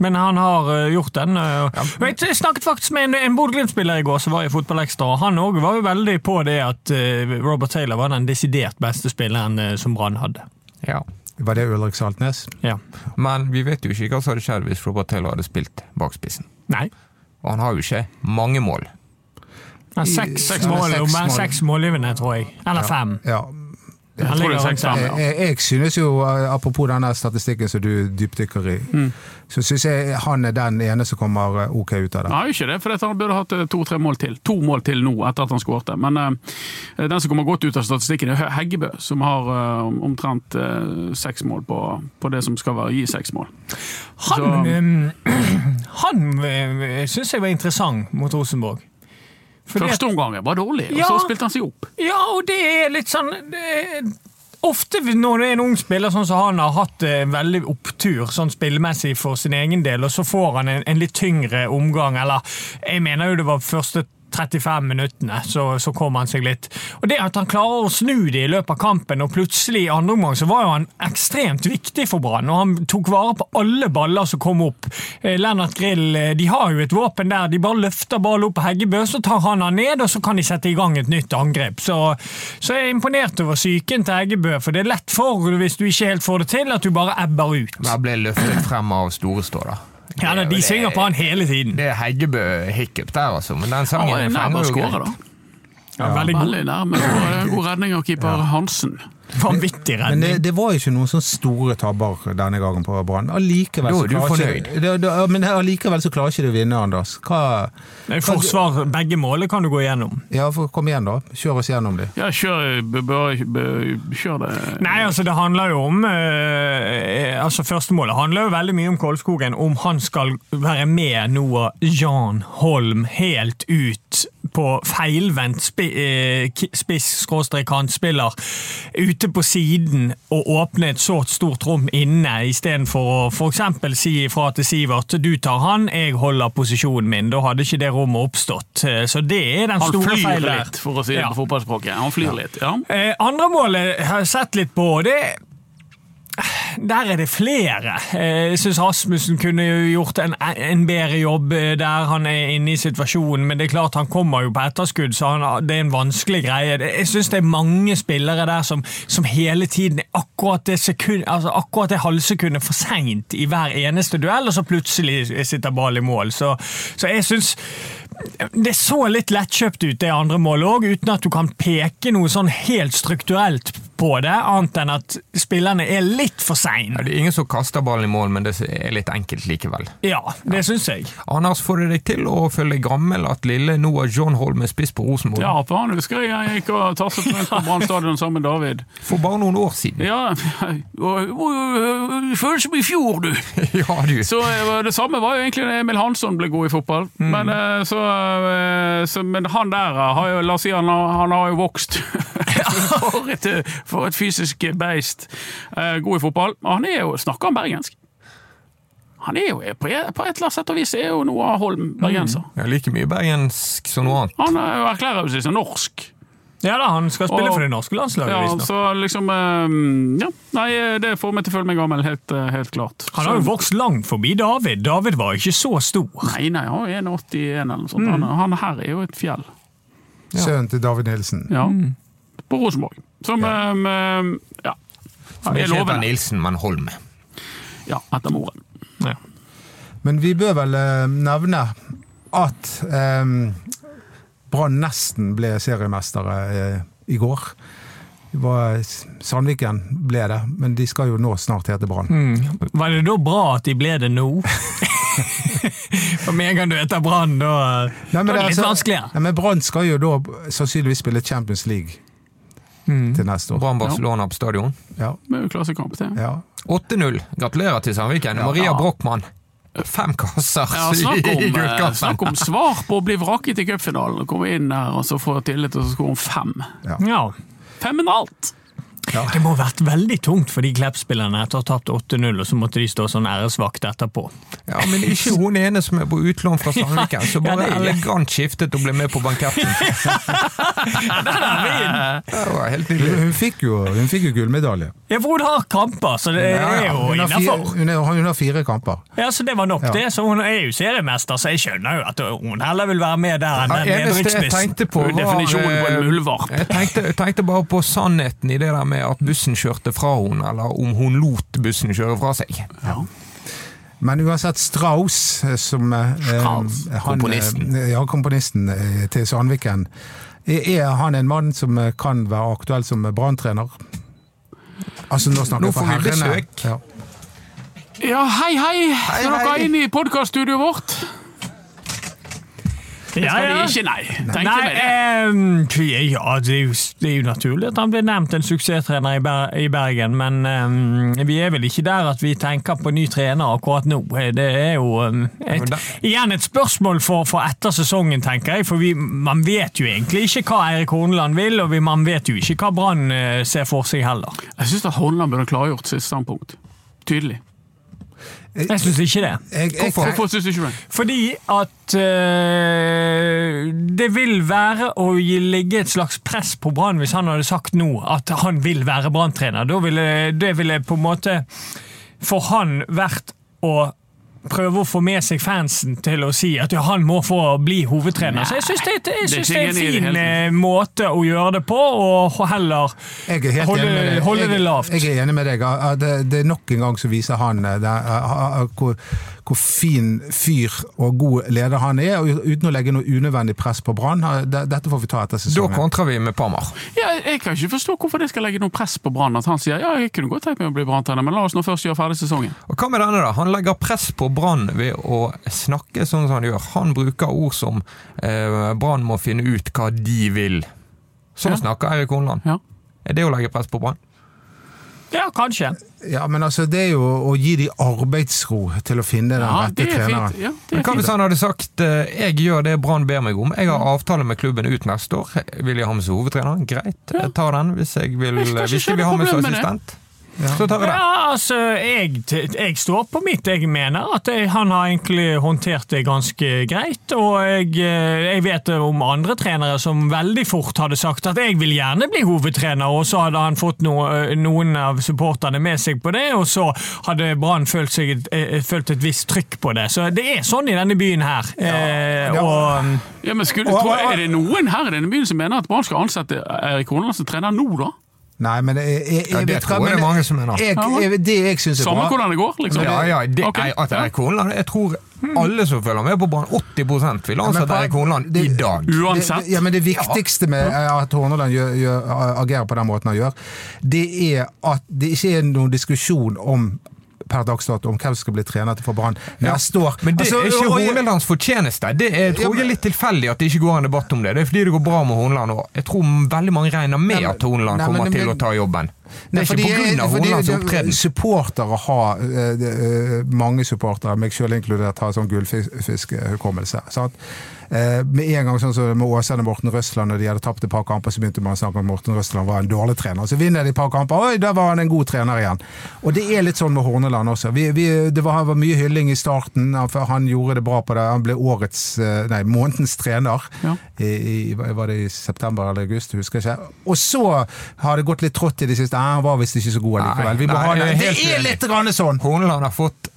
[SPEAKER 5] Men han har eh, gjort den. eh, og- Vet, jeg snakket faktisk med en, en Bodø-Glimt-spiller i går som var i Fotballekstra. og Han òg var jo veldig på det at eh, Robert Taylor var den desidert beste spilleren eh, som Brann hadde.
[SPEAKER 2] Ja.
[SPEAKER 4] Var det Ulrik Saltnes?
[SPEAKER 5] Ja.
[SPEAKER 2] Men vi vet jo ikke hva som hadde skjedd hvis Robert Taylor hadde spilt bakspissen.
[SPEAKER 5] Nei.
[SPEAKER 2] Og han har jo ikke mange mål.
[SPEAKER 5] Ja, Seks,
[SPEAKER 4] Ja,
[SPEAKER 5] seks mål,
[SPEAKER 4] seks mål.
[SPEAKER 5] men seks målgivende, tror jeg. Eller fem.
[SPEAKER 4] Ja.
[SPEAKER 3] tror
[SPEAKER 5] Han
[SPEAKER 3] det er
[SPEAKER 5] ligger rundt
[SPEAKER 3] seks,
[SPEAKER 5] der.
[SPEAKER 3] fem.
[SPEAKER 4] Jeg, jeg, eh, jeg synes jo, eh, apropos denne statistikken som du dypdykker i,
[SPEAKER 2] Mm.
[SPEAKER 4] så syns jeg han er den ene som kommer eh, OK ut av det.
[SPEAKER 3] Nei, ikke det, for han burde hatt eh, to-tre mål til. To mål til nå, etter at han skårte. Men eh, den som kommer godt ut av statistikken, er Heggebø, som har eh, omtrent eh, seks mål på, på det som skal være gi seks mål.
[SPEAKER 5] Han,
[SPEAKER 3] Så-
[SPEAKER 5] um, han syns jeg var interessant mot Rosenborg. Fordi at-
[SPEAKER 3] Første omgangen var dårlig, og
[SPEAKER 5] Ja.
[SPEAKER 3] så spilte han seg opp.
[SPEAKER 5] Ja, og det er litt sånn det, Ofte når det er en ung spiller sånn som han har hatt eh, en veldig opptur sånn spillemessig for sin egen del, og så får han en, en litt tyngre omgang, eller jeg mener jo det var første 35 minuttene, så, så kom han seg litt. Og det at han klarer å snu det i løpet av kampen, og plutselig i andre omgang så var jo han ekstremt viktig for Brann, og han tok vare på alle baller som kom opp. Eh, Lennart Grill eh, de har jo et våpen der, de bare løfter ballen opp på Heggebø, så tar han han ned, og så kan de sette i gang et nytt angrep. Så, så jeg er imponert over psyken til Heggebø, for det er lett for, hvis du ikke helt får det til, at du bare ebber ut.
[SPEAKER 2] Men han ble løftet frem av Storestå, da.
[SPEAKER 5] Ja, da, De synger på han hele tiden.
[SPEAKER 2] Det er Heggebø-hiccup der, altså. Men den
[SPEAKER 3] Han
[SPEAKER 2] sangen
[SPEAKER 3] var nærmere
[SPEAKER 2] fenger
[SPEAKER 3] å
[SPEAKER 2] jo
[SPEAKER 3] skåre,
[SPEAKER 2] greit.
[SPEAKER 3] da.
[SPEAKER 5] Ja, veldig god,
[SPEAKER 3] Veldig nærme. Det var en God redning av keeper Hansen.
[SPEAKER 5] Vanvittig
[SPEAKER 4] Men det,
[SPEAKER 5] redning.
[SPEAKER 4] det var jo ikke noen sånne store tabber denne gangen på Brann. Allikevel
[SPEAKER 2] Da
[SPEAKER 4] så
[SPEAKER 2] er du
[SPEAKER 4] klarer
[SPEAKER 2] fornøyd.
[SPEAKER 4] ikke det, det, Men allikevel så klarer ikke du å vinne, Anders. Hva,
[SPEAKER 5] Forsvar, begge målene kan du gå gjennom.
[SPEAKER 4] ja, for, kom igjen, da. Kjør oss gjennom de.
[SPEAKER 3] Ja, kjør, b- b- b- kjør det.
[SPEAKER 5] Nei, altså det handler jo om eh, altså Førstemålet handler jo veldig mye om Kolskogen. Om han skal være med Noah Jan Holm helt ut på feilvendt spi, eh, ki- spiss-kantspiller ute på siden og åpne et så stort rom inne, istedenfor å f.eks. si ifra til Sivert du tar han, jeg holder posisjonen min. Da hadde ikke det rommet oppstått. Eh, Så det er den
[SPEAKER 3] Han
[SPEAKER 5] store
[SPEAKER 3] flyr
[SPEAKER 5] feilen. der.
[SPEAKER 3] litt, for å si det
[SPEAKER 5] Ja.
[SPEAKER 3] på fotballspråket. Han flyr litt, ja.
[SPEAKER 5] Eh, andre målet har jeg sett litt på, og det der er det flere. Eh, Jeg syns Rasmussen kunne jo gjort en, en bedre jobb eh, der han er inne i situasjonen, men det er klart han kommer jo på etterskudd, så han, det er en vanskelig greie. Det- Jeg syns det er mange spillere der som, som hele tiden er akkurat det, sekund, altså akkurat det halvsekundet for seint i hver eneste duell, og så plutselig sitter ballen i mål. Så, så jeg syns det så litt lettkjøpt ut, det andre målet òg, uten at du kan peke noe sånn helt strukturelt på det, annet enn at spillerne er litt for
[SPEAKER 2] Ja,
[SPEAKER 5] seine.
[SPEAKER 2] det er ingen som kaster ballen i mål, men det er litt enkelt likevel.
[SPEAKER 5] Ja, det syns jeg.
[SPEAKER 2] Anders, får det deg til å følge gammel at lille Noah John Holm er spiss på Rosenborg?
[SPEAKER 3] Ja, for han husker jeg han gikk og tasset rundt på Brann stadion sammen med David.
[SPEAKER 2] For bare noen år siden.
[SPEAKER 3] Ja, og, og, og, det føles som i fjor, du!
[SPEAKER 2] Ja, du.
[SPEAKER 3] Så eh, Det samme var jo egentlig da Emil Hansson ble god i fotball.
[SPEAKER 5] Mm.
[SPEAKER 3] Men, eh, så, eh, så, men han der eh, har jo, la oss si han har, han har jo vokst. for, et, eh, for et fysisk beist. Eh, God i fotball. Og Han er jo, snakker han bergensk? Han er jo på et, på et eller annet sett og vis er jo Noah Holm
[SPEAKER 5] Mm.
[SPEAKER 3] bergenser.
[SPEAKER 2] Ja, like mye bergensk som noe annet.
[SPEAKER 3] Han eh, erklærer jo seg som norsk.
[SPEAKER 5] Ja da, han skal spille
[SPEAKER 3] Og-
[SPEAKER 5] for det norske landslaget.
[SPEAKER 3] Ja,
[SPEAKER 5] visstnok.
[SPEAKER 3] så liksom eh, Ja, nei, eh, det får meg til å føle meg gammel, helt, eh, helt klart.
[SPEAKER 5] Han har jo
[SPEAKER 3] Så-
[SPEAKER 5] vokst langt forbi David. David var ikke så stor.
[SPEAKER 3] Nei, nei, han er 1,81 eller noe sånt. Han, han her er jo et fjell.
[SPEAKER 4] Sønnen til David Nilsen.
[SPEAKER 3] Ja. På Rosenborg. Som
[SPEAKER 2] Ja.
[SPEAKER 3] ja. ja.
[SPEAKER 2] Som
[SPEAKER 3] Det er
[SPEAKER 2] ikke heter
[SPEAKER 3] lovende.
[SPEAKER 2] Nilsen, men Holm.
[SPEAKER 3] Ja, etter moren.
[SPEAKER 5] Ja.
[SPEAKER 4] Men vi bør vel eh, nevne at eh, Brann nesten ble seriemestere eh, i går. Det var, Sandviken ble det, men de skal jo nå snart hete Brann.
[SPEAKER 5] Mm. Var det da bra at de ble det nå? For med en gang du heter Brann, da
[SPEAKER 4] Nei,
[SPEAKER 5] da er det litt
[SPEAKER 4] altså-
[SPEAKER 5] vanskeligere.
[SPEAKER 4] Nei, men Brann skal jo da sannsynligvis spille Champions League
[SPEAKER 5] Mm.
[SPEAKER 4] til neste år.
[SPEAKER 2] Brann Barcelona på stadion.
[SPEAKER 4] Ja,
[SPEAKER 3] Det er jo klassekamp, det.
[SPEAKER 4] ja.
[SPEAKER 2] 8-0. Gratulerer til Sandviken. Maria
[SPEAKER 3] Ja.
[SPEAKER 2] Brochmann. Fem kasser
[SPEAKER 3] Ja, snakk, om,
[SPEAKER 2] i
[SPEAKER 3] eh, snakk
[SPEAKER 2] gullkampen.
[SPEAKER 3] om svar på å bli vraket i cupfinalen. Komme inn her og så få tillit, og så skåre fem.
[SPEAKER 5] Ja.
[SPEAKER 3] Fem enn alt!
[SPEAKER 5] Det må ha vært veldig tungt for de Klepp-spillerne etter å ha tapt 8-0, og så måtte de stå sånn æresvakt etterpå.
[SPEAKER 2] Ja, men ikke hun ene som er på utlån fra Sandviken, som
[SPEAKER 5] Ja,
[SPEAKER 2] bare
[SPEAKER 5] det er-
[SPEAKER 2] elegant skiftet og ble med på banketten.
[SPEAKER 5] Eh,
[SPEAKER 2] Det var helt nydelig.
[SPEAKER 4] Hun fikk jo, hun fikk jo gullmedalje.
[SPEAKER 5] Ja, for hun har kramper, så det
[SPEAKER 2] Ja,
[SPEAKER 5] er
[SPEAKER 2] ja,
[SPEAKER 5] jo
[SPEAKER 4] Hun har fire,
[SPEAKER 5] innafor.
[SPEAKER 4] hun er- hun har fire kamper.
[SPEAKER 5] Ja, så det var nok
[SPEAKER 4] Ja.
[SPEAKER 5] det. Så hun er jo seriemester, så jeg skjønner jo at hun heller vil være med der enn
[SPEAKER 2] Ja,
[SPEAKER 5] den
[SPEAKER 2] eneste jeg
[SPEAKER 5] nedrykksspissen.
[SPEAKER 2] tenkte på,
[SPEAKER 3] Det er jo
[SPEAKER 2] var
[SPEAKER 3] definisjonen på en
[SPEAKER 2] eh,
[SPEAKER 3] muldvarp.
[SPEAKER 2] Jeg tenkte, jeg tenkte bare på sannheten i det der med at bussen kjørte fra henne, eller om hun lot bussen kjøre fra seg.
[SPEAKER 4] Men uansett, Strauss, eh, som eh,
[SPEAKER 3] Strauss,
[SPEAKER 4] eh, han, eh,
[SPEAKER 2] komponisten.
[SPEAKER 4] Ja, komponisten eh, til Sandviken. Er er han en mann som eh, kan være aktuell som branntrener? Altså, nå snakker
[SPEAKER 2] Nå
[SPEAKER 4] jeg for
[SPEAKER 2] får vi
[SPEAKER 4] herrene.
[SPEAKER 2] besøk.
[SPEAKER 4] Ja.
[SPEAKER 3] Ja, hei, hei! Skal dere
[SPEAKER 2] hei.
[SPEAKER 3] inn i podkaststudioet vårt?
[SPEAKER 5] Ja,
[SPEAKER 3] Skal de
[SPEAKER 5] ja.
[SPEAKER 3] ikke, nei. Tenkte
[SPEAKER 5] Nei,
[SPEAKER 3] meg det.
[SPEAKER 5] ehm, tj- ja, det er, jo, det er jo naturlig at han blir nevnt en suksesstrener i, Ber i Bergen, men ehm, vi er vel ikke der at vi tenker på ny trener akkurat nå. Det er jo ehm,
[SPEAKER 2] men
[SPEAKER 5] et,
[SPEAKER 2] da-
[SPEAKER 5] igjen et spørsmål for, for etter sesongen, tenker jeg. For vi, man vet jo egentlig ikke hva Eirik Horneland vil, og vi, man vet jo ikke hva Brann eh, ser for seg heller.
[SPEAKER 3] Jeg syns Holland burde klargjort sitt standpunkt. Tydelig.
[SPEAKER 2] Eh,
[SPEAKER 5] Jeg syns ikke det.
[SPEAKER 4] Jeg, jeg,
[SPEAKER 2] Hvorfor?
[SPEAKER 3] Hvorfor syns du ikke det?
[SPEAKER 5] Fordi at eh, det vil være å gi- ligge et slags press på Brann hvis han hadde sagt nå at han vil være Brann-trener. Da ville det ville på en måte for han vært å prøve å få med seg fansen til å si at ja, han må få bli hovedtrener. Så jeg syns det, er et- jeg
[SPEAKER 3] det er
[SPEAKER 5] synes det er
[SPEAKER 3] ikke enig i det
[SPEAKER 5] en fin
[SPEAKER 3] hele tatt.
[SPEAKER 5] eh, måte å gjøre det på, og heller
[SPEAKER 4] jeg er helt
[SPEAKER 5] Holde-
[SPEAKER 4] enig med deg.
[SPEAKER 5] holde det
[SPEAKER 4] jeg,
[SPEAKER 5] lavt.
[SPEAKER 4] Jeg er enig med deg. Ah, ah, Det, det er nok en gang som viser han eh, det, ah, ah, hvor, hvor fin fyr og god leder han er, og uten å legge noe unødvendig press på Brann. Ah, det- Dette får vi ta etter
[SPEAKER 2] Da
[SPEAKER 4] sesongen.
[SPEAKER 2] kontrer vi med Pammer.
[SPEAKER 3] Ja, jeg kan ikke forstå hvorfor det skal legge noe press på Brann. At han sier ja, jeg kunne godt tenkt meg å bli brann men la oss nå først gjøre ferdig sesongen.
[SPEAKER 2] Og hva med denne da? Han legger press på Brann ved å snakke sånn som han gjør. Han bruker ord som eh, Brann må finne ut hva de vil. Sånn
[SPEAKER 3] Ja.
[SPEAKER 2] snakker Eirik Horneland.
[SPEAKER 3] Ja.
[SPEAKER 2] Er det å legge press på Brann?
[SPEAKER 5] Ja, kanskje.
[SPEAKER 4] Ja, men altså, det er jo å gi de arbeidsro til å finne den
[SPEAKER 3] Ja,
[SPEAKER 4] rette treneren.
[SPEAKER 3] Ja, det
[SPEAKER 2] Men Hva
[SPEAKER 3] er fint. Mm.
[SPEAKER 2] hvis han hadde sagt eh, 'jeg gjør det Brann ber meg om', 'jeg har avtale med klubben ut neste år', 'vil jeg ha med som hovedtrener'? Greit, jeg tar den hvis jeg vil eh,
[SPEAKER 3] Jeg skal ikke
[SPEAKER 2] Hvis jeg
[SPEAKER 3] skjønne
[SPEAKER 2] vil ha med som
[SPEAKER 3] problemet med det.
[SPEAKER 2] assistent, så tar jeg den.
[SPEAKER 5] Ja, altså, jeg, jeg står på mitt. Jeg mener at jeg, han har egentlig håndtert det ganske greit. Og jeg, eh, jeg vet om andre trenere som veldig fort hadde sagt at jeg vil gjerne bli hovedtrener, og så hadde han fått no, eh, noen av supporterne med seg på det, og så hadde Brann følt, seg et- eh, følt et visst trykk på det. Så det er sånn i denne byen her. Eh,
[SPEAKER 4] Ja.
[SPEAKER 5] og...
[SPEAKER 2] um,
[SPEAKER 3] Ja, men skulle, tror, jeg- er det noen her i denne byen som mener at Brann skal ansette Erik Horneland som trener nå, da?
[SPEAKER 4] Nei, men jeg, jeg,
[SPEAKER 2] Ja,
[SPEAKER 4] jeg
[SPEAKER 2] det
[SPEAKER 4] vet
[SPEAKER 2] tror jeg det er mange som mener.
[SPEAKER 4] Jeg, jeg, det jeg syns er
[SPEAKER 3] Samme
[SPEAKER 4] bra
[SPEAKER 3] hvordan det går, liksom.
[SPEAKER 2] Ja, ja, det,
[SPEAKER 3] Ok. Mm.
[SPEAKER 2] Nei, at Erik Horneland Jeg tror alle som følger med på Brann, 80 vil ansette
[SPEAKER 4] poen-
[SPEAKER 2] Erik Horneland i
[SPEAKER 4] det-
[SPEAKER 2] dag.
[SPEAKER 3] Uansett.
[SPEAKER 4] Det, ja, men det viktigste med eh, at Horneland gjør, gjør, agerer på den måten han gjør, det er at det ikke er noen diskusjon om per dags dato om hvem som skal bli trener til for Brann
[SPEAKER 2] Ja.
[SPEAKER 4] neste år.
[SPEAKER 2] Men det
[SPEAKER 4] Altså,
[SPEAKER 2] er ikke
[SPEAKER 4] og- og-
[SPEAKER 2] Hornelands fortjeneste. Det er, tror jeg er litt tilfeldig at det ikke går en debatt om det. Det er fordi det går bra med Horneland nå. Jeg tror veldig mange regner med
[SPEAKER 4] Nei, men-
[SPEAKER 2] at Horneland
[SPEAKER 4] nei, men-
[SPEAKER 2] kommer til
[SPEAKER 4] men-
[SPEAKER 2] å ta jobben. Det
[SPEAKER 4] Nei,
[SPEAKER 2] er
[SPEAKER 4] fordi
[SPEAKER 2] ikke
[SPEAKER 4] jeg-
[SPEAKER 2] pga.
[SPEAKER 4] fordi
[SPEAKER 2] Hornelands
[SPEAKER 4] det-
[SPEAKER 2] opptreden.
[SPEAKER 4] Supportere har, eh, det, eh, mange supportere, meg selv inkludert, har sånn gullfiskhukommelse. sant? Eh, Med en gang sånn som med Åsane og Morten Røsland, og de hadde tapt et par kamper, så begynte man å snakke om at Morten Røsland var en dårlig trener. Så vinner de et par kamper, oi, der var han en god trener igjen. Og det er litt sånn med Horneland også. Vi, vi, det var, var mye hylling i starten, han, for han gjorde det bra på det, han ble årets, eh, nei, månedens trener
[SPEAKER 3] Ja.
[SPEAKER 4] i, i, var det i september eller august, husker jeg ikke. Og så har det gått litt trått i det siste. Nei, han var visst ikke så god
[SPEAKER 2] Nei,
[SPEAKER 4] likevel. Vi må
[SPEAKER 2] nei,
[SPEAKER 4] ha det.
[SPEAKER 2] jeg er
[SPEAKER 4] det
[SPEAKER 2] helt
[SPEAKER 4] er
[SPEAKER 2] uenig.
[SPEAKER 4] litt grann sånn!
[SPEAKER 2] Horneland har fått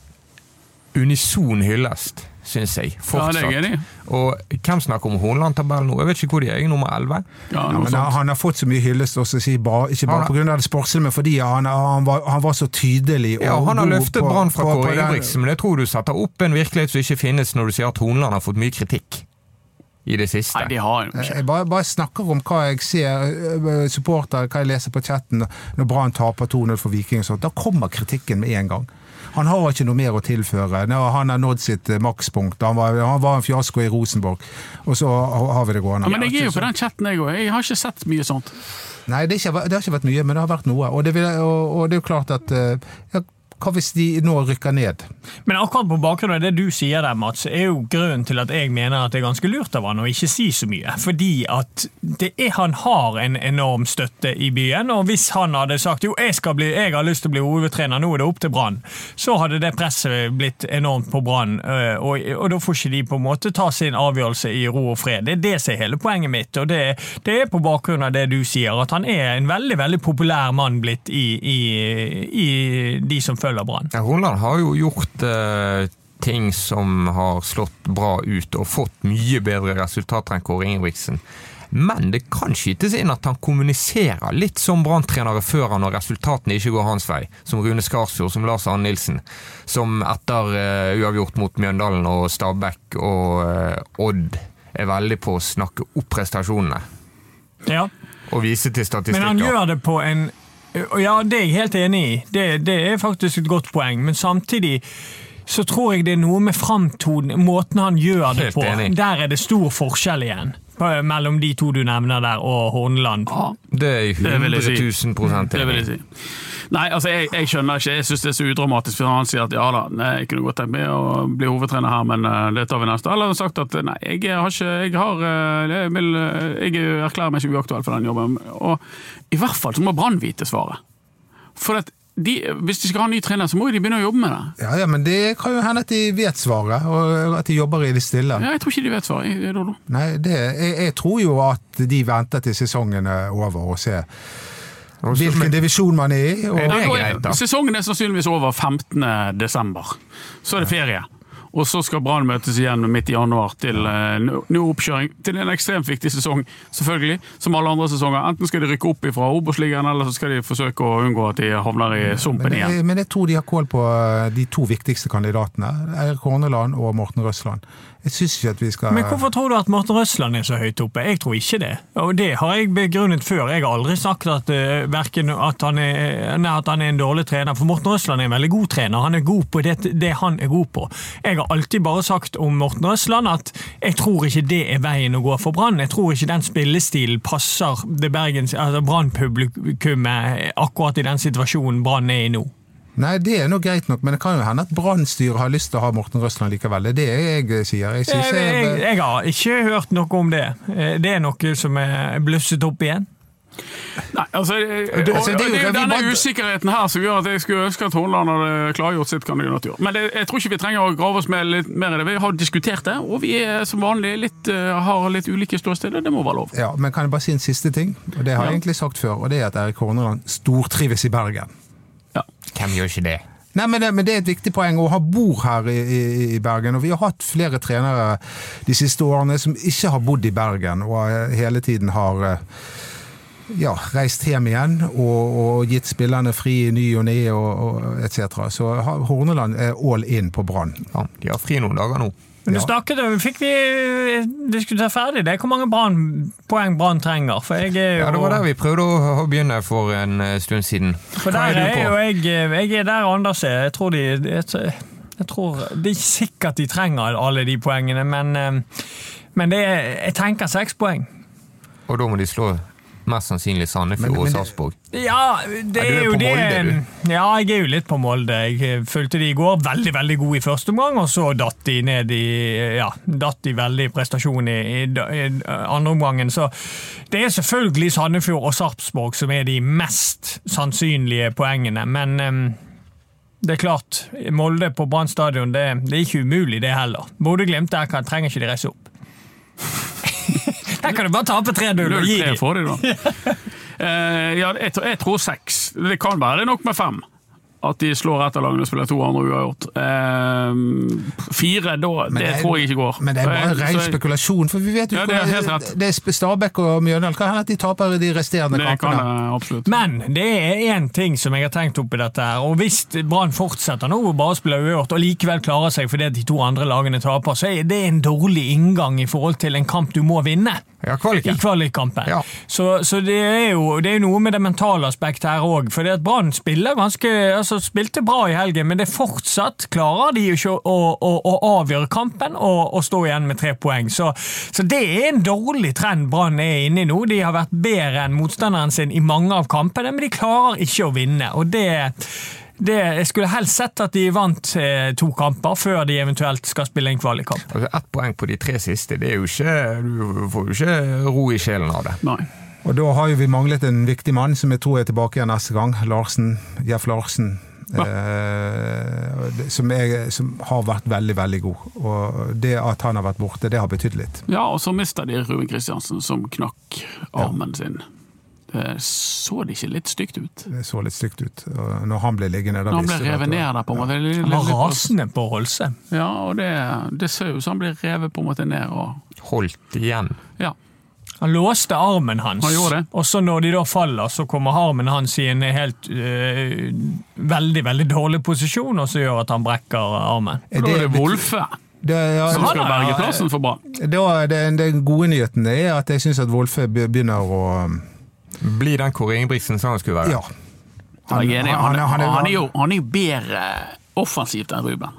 [SPEAKER 2] unison hyllest, syns jeg.
[SPEAKER 3] Ja, det
[SPEAKER 2] Fortsatt.
[SPEAKER 3] er jeg enig i.
[SPEAKER 2] Og hvem snakker om Horneland-tabellen nå? Jeg vet ikke hvor de er. Jeg er nummer 11.
[SPEAKER 3] Ja,
[SPEAKER 4] Ja,
[SPEAKER 3] noe
[SPEAKER 4] men
[SPEAKER 3] sånt.
[SPEAKER 4] han har fått så mye hyllest, også, si, bare, ikke bare
[SPEAKER 2] Han har-
[SPEAKER 4] pga. det sportslige, men fordi han, han, var, han var så tydelig. og
[SPEAKER 2] Ja, han har
[SPEAKER 4] god
[SPEAKER 2] løftet
[SPEAKER 4] på-
[SPEAKER 2] Brann fra
[SPEAKER 4] på- på
[SPEAKER 2] Kåre
[SPEAKER 4] den-
[SPEAKER 2] Ingebrigtsen, men jeg tror du setter opp en virkelighet som ikke finnes når du sier at Horneland har fått mye kritikk i det siste.
[SPEAKER 3] Nei, de har jo ikke.
[SPEAKER 4] Eh, Jeg bare, bare snakker om hva jeg ser, eh, supportere, hva jeg leser på chatten når Brann taper 2-0 for Viking og sånt. Da kommer kritikken med en gang. Han har ikke noe mer å tilføre. Nå, Han har nådd sitt eh, makspunkt. Han var, han var en fiasko i Rosenborg, og så har har vi det gående.
[SPEAKER 3] Ja, men jeg er jo på den chatten, jeg òg. Jeg har ikke sett mye sånt.
[SPEAKER 4] Nei, det, er ikke, det har ikke vært mye, men det har vært noe. Og det, vil, og, og det er jo klart at eh, ja, Hva hvis de nå rykker ned?
[SPEAKER 5] Men akkurat på bakgrunn av det du sier der, Mats, er jo grunnen til at jeg mener at det er ganske lurt av han å ikke si så mye. Fordi at det er, han har en enorm støtte i byen, og hvis han hadde sagt jo, jeg, skal bli, jeg har lyst til å bli hovedtrener, nå er det opp til Brann, så hadde det presset blitt enormt på Brann, øh, og, og da får ikke de på en måte ta sin avgjørelse i ro og fred. Det er det som er hele poenget mitt, og det, det er på bakgrunn av det du sier, at han er en veldig, veldig populær mann blitt i, i, i de som følger Brann.
[SPEAKER 2] Ja, Horneland har jo gjort eh, ting som har slått bra ut og fått mye bedre resultater enn Kåre Ingebrigtsen. Men det kan skytes inn at han kommuniserer litt som Brann-trenere før han når resultatene ikke går hans vei. Som Rune Skarsfjord, som Lars Arne Nilsen. Som etter eh, uavgjort mot Mjøndalen og Stabæk og eh, Odd er veldig på å snakke opp prestasjonene.
[SPEAKER 5] Ja.
[SPEAKER 2] Og vise til statistikker.
[SPEAKER 5] Men han gjør det på en og Ja, det er jeg helt enig i. Det, det er faktisk et godt poeng, men samtidig så tror jeg det er noe med framtonen, måten han gjør det
[SPEAKER 2] Helt
[SPEAKER 5] på.
[SPEAKER 2] enig.
[SPEAKER 5] Der er det stor forskjell igjen på- mellom de to du nevner der, og Horneland.
[SPEAKER 2] Det er jeg
[SPEAKER 3] Det vil jeg si.
[SPEAKER 2] 100 000 enig
[SPEAKER 3] Det vil jeg si. Nei, altså, jeg, jeg skjønner ikke. Jeg syns det er så udramatisk for han sier at ja da, nei, jeg kunne godt tenkt meg å bli hovedtrener her, men eh, det tar vi neste. Eller han har sagt at nei, jeg har ikke Jeg har eh, Jeg, vil, eh, jeg erklærer meg ikke uaktuell for den jobben. Og i hvert fall så må Brann vite svaret. For at de, hvis de skal ha en ny trener, så må jo de begynne å jobbe med det.
[SPEAKER 4] Ja, ja, men Det kan jo hende at de vet svaret, og at de jobber i det stille.
[SPEAKER 3] Ja, jeg tror ikke de vet svaret. Jeg, Dodo.
[SPEAKER 4] Nei, det, jeg, jeg tror jo at de venter til sesongen er over og ser hvilken divisjon man er i.
[SPEAKER 2] Er
[SPEAKER 4] Og,
[SPEAKER 2] det-
[SPEAKER 3] Nei, nå
[SPEAKER 2] greit, da.
[SPEAKER 3] Sesongen er sannsynligvis over 15. desember. Så er det ferie. Og så skal Brann møtes igjen midt i januar til eh, nå- nå oppkjøring til en ekstremt viktig sesong, selvfølgelig, som alle andre sesonger. Enten skal de rykke opp fra Obos-ligaen, eller så skal de forsøke å unngå at de havner i sumpen
[SPEAKER 4] men,
[SPEAKER 3] igjen.
[SPEAKER 4] jeg, men jeg tror de har kål på eh, de to viktigste kandidatene. Eirik Horneland og Morten Røsland. Jeg syns ikke at vi skal
[SPEAKER 5] Men hvorfor tror du at Morten Røsland er så høyt oppe? Jeg tror ikke det. Og det har jeg begrunnet før. Jeg har aldri sagt at, eh, hverken at, han, er, nei, at han er en dårlig trener, for Morten Røsland er en veldig god trener. Han er god på det, det han er god på. Jeg har alltid bare sagt om Morten Røsland at jeg tror ikke det er veien å gå for Brann. Jeg tror ikke den spillestilen passer det Bergens, altså Brann-publikummet akkurat i den situasjonen Brann er i nå.
[SPEAKER 4] Nei, det er nå greit nok, men det kan jo hende at Brann-styret har lyst til å ha Morten Røsland likevel. Det er det jeg eh, sier. Jeg synes
[SPEAKER 5] Jeg, jeg,
[SPEAKER 4] jeg,
[SPEAKER 5] jeg har ikke hørt noe om det. Eh, Det er noe som er blusset opp igjen.
[SPEAKER 3] Nei, altså, eh, og,
[SPEAKER 4] det- altså,
[SPEAKER 3] og
[SPEAKER 4] det er
[SPEAKER 3] det er
[SPEAKER 4] jo-
[SPEAKER 3] jo
[SPEAKER 4] vi
[SPEAKER 3] denne
[SPEAKER 4] bare-
[SPEAKER 3] usikkerheten her som gjør at jeg skulle ønske at Horneland hadde klargjort sitt kandidatur. Men det, jeg tror ikke vi trenger å grave oss med litt mer i det. Vi har diskutert det, og vi er som vanlig litt, eh, har litt ulike ståsteder. Det må være lov.
[SPEAKER 4] ja, men kan jeg bare si en siste ting? Og det har jeg
[SPEAKER 3] Ja.
[SPEAKER 4] egentlig sagt før, og det er at Eirik Horneland stortrives i Bergen.
[SPEAKER 2] Hvem gjør ikke det?
[SPEAKER 4] Nei, men det, men det er et viktig poeng, og han bor her i, i, i Bergen. Og vi har hatt flere trenere de siste årene som ikke har bodd i Bergen, og eh, hele tiden har eh, ja, reist hjem igjen og, og gitt spillerne fri i ny og ne og, og etc. Så ha- Horneland er all in på Brann.
[SPEAKER 2] Ja, de har fri noen dager nå.
[SPEAKER 5] Men du
[SPEAKER 4] Ja.
[SPEAKER 5] snakket om Fikk vi diskutert ferdig det? Hvor mange Brann- poeng Brann trenger? For jeg er jo
[SPEAKER 2] Ja, Det var der vi prøvde å, å begynne for en eh, stund siden.
[SPEAKER 5] For der
[SPEAKER 2] Hva er du
[SPEAKER 5] er
[SPEAKER 2] på?
[SPEAKER 5] jo jeg Jeg er der Anders er. Jeg tror de jeg, t- jeg tror Det er ikke sikkert de trenger alle de poengene, men, eh, men det er, jeg tenker seks poeng.
[SPEAKER 2] Og da må de slå mest sannsynlig
[SPEAKER 4] Men-
[SPEAKER 2] Sandefjord
[SPEAKER 4] men
[SPEAKER 2] og
[SPEAKER 4] det-
[SPEAKER 2] Sarpsborg.
[SPEAKER 5] Ja, det
[SPEAKER 2] Ja, du
[SPEAKER 5] er,
[SPEAKER 2] er
[SPEAKER 5] jo
[SPEAKER 2] på
[SPEAKER 5] det
[SPEAKER 2] Molde, du.
[SPEAKER 5] Ja, jeg er jo litt på Molde. Jeg fulgte de i går. Veldig, veldig gode i første omgang, og så datt de ned i Ja, datt de veldig i prestasjon i, i, i andre omgangen. Så det er selvfølgelig Sandefjord og Sarpsborg som er de mest sannsynlige poengene, men em, det er klart, Molde på Brann stadion, det, det er ikke umulig, det heller. Bodø-Glimt, der kan, trenger ikke de reise opp. der kan du bare tape 3-0 og gi
[SPEAKER 3] 0-3
[SPEAKER 5] dem.
[SPEAKER 3] får de, da. Eh, ja, jeg, tror- jeg tror seks. Det kan være det er nok med fem. At de slår ett av lagene og spiller to andre uavgjort. Eh, fire, da
[SPEAKER 4] Men
[SPEAKER 3] Det
[SPEAKER 4] det er-
[SPEAKER 3] tror jeg ikke går.
[SPEAKER 4] Men det er bare
[SPEAKER 3] Eh,
[SPEAKER 4] ren
[SPEAKER 3] så jeg-
[SPEAKER 4] spekulasjon, for vi vet jo
[SPEAKER 3] Ja, det er
[SPEAKER 4] hvordan-
[SPEAKER 3] helt rett.
[SPEAKER 4] det er Sp- Stabæk og Mjøndalen. Hva hender at de taper de resterende
[SPEAKER 3] Det kan
[SPEAKER 4] kampene?
[SPEAKER 3] jeg absolutt.
[SPEAKER 5] Men det er én ting som jeg har tenkt oppi dette. her, og Hvis Brann fortsetter nå og bare spiller uavgjort og likevel klarer seg fordi de to andre lagene taper, så er det en dårlig inngang i forhold til en kamp du må vinne.
[SPEAKER 2] Ja, kvaliken.
[SPEAKER 5] I kvalikkampen.
[SPEAKER 2] Ja.
[SPEAKER 5] Så, så det er jo det er noe med det mentale aspektet her òg. For Brann spiller ganske, altså spilte bra i helgen, men det er fortsatt klarer de jo ikke å, å, å avgjøre kampen og, og stå igjen med tre poeng. Så, så det er en dårlig trend Brann er inne i nå. De har vært bedre enn motstanderen sin i mange av kampene, men de klarer ikke å vinne. og det det, jeg skulle helst sett at de vant eh, to kamper før de eventuelt skal spille en kvalikkamp.
[SPEAKER 2] Altså, Ett poeng på de tre siste, det er jo ikke, du får jo ikke ro i sjelen av det.
[SPEAKER 3] Nei.
[SPEAKER 4] Og da har jo vi manglet en viktig mann som jeg tror er tilbake igjen neste gang. Larsen. Jeff Larsen. Eh, og det- som, er, som har vært veldig, veldig god. Og det at han har vært borte, det har betydd litt.
[SPEAKER 3] Ja, og så mister de Ruben Kristiansen, som knakk armen sin. Det så det ikke litt stygt ut?
[SPEAKER 4] Det så litt stygt ut og når han ble liggende. da
[SPEAKER 3] Når han
[SPEAKER 4] visste
[SPEAKER 3] ble
[SPEAKER 4] vi at
[SPEAKER 3] revet
[SPEAKER 4] det var-
[SPEAKER 3] ned der, på en måte. Det er
[SPEAKER 5] Han var
[SPEAKER 3] litt-
[SPEAKER 5] rasende på Rolse.
[SPEAKER 3] Ja, og det, det ser jo ut som han blir revet på en måte ned og
[SPEAKER 2] Holdt igjen.
[SPEAKER 3] Ja.
[SPEAKER 5] Han låste armen hans,
[SPEAKER 3] Han gjorde det.
[SPEAKER 5] og så når de da faller, så kommer armen hans i en helt eh, veldig, veldig dårlig posisjon, og så gjør at han brekker armen.
[SPEAKER 4] Er
[SPEAKER 3] Da er det
[SPEAKER 4] det-
[SPEAKER 3] Wolfe
[SPEAKER 4] Det, ja,
[SPEAKER 3] som skal
[SPEAKER 5] han er-
[SPEAKER 3] berge plassen for Brann.
[SPEAKER 4] da, den, den gode nyheten er at jeg syns at Wolfe be- begynner å
[SPEAKER 2] Bli den Kåre Ingebrigtsen sa han skulle være.
[SPEAKER 4] Ja.
[SPEAKER 3] Ja, jeg er enig. Han,
[SPEAKER 4] han- han- han er-
[SPEAKER 3] han er jo, han er jo bedre offensivt enn Ruben.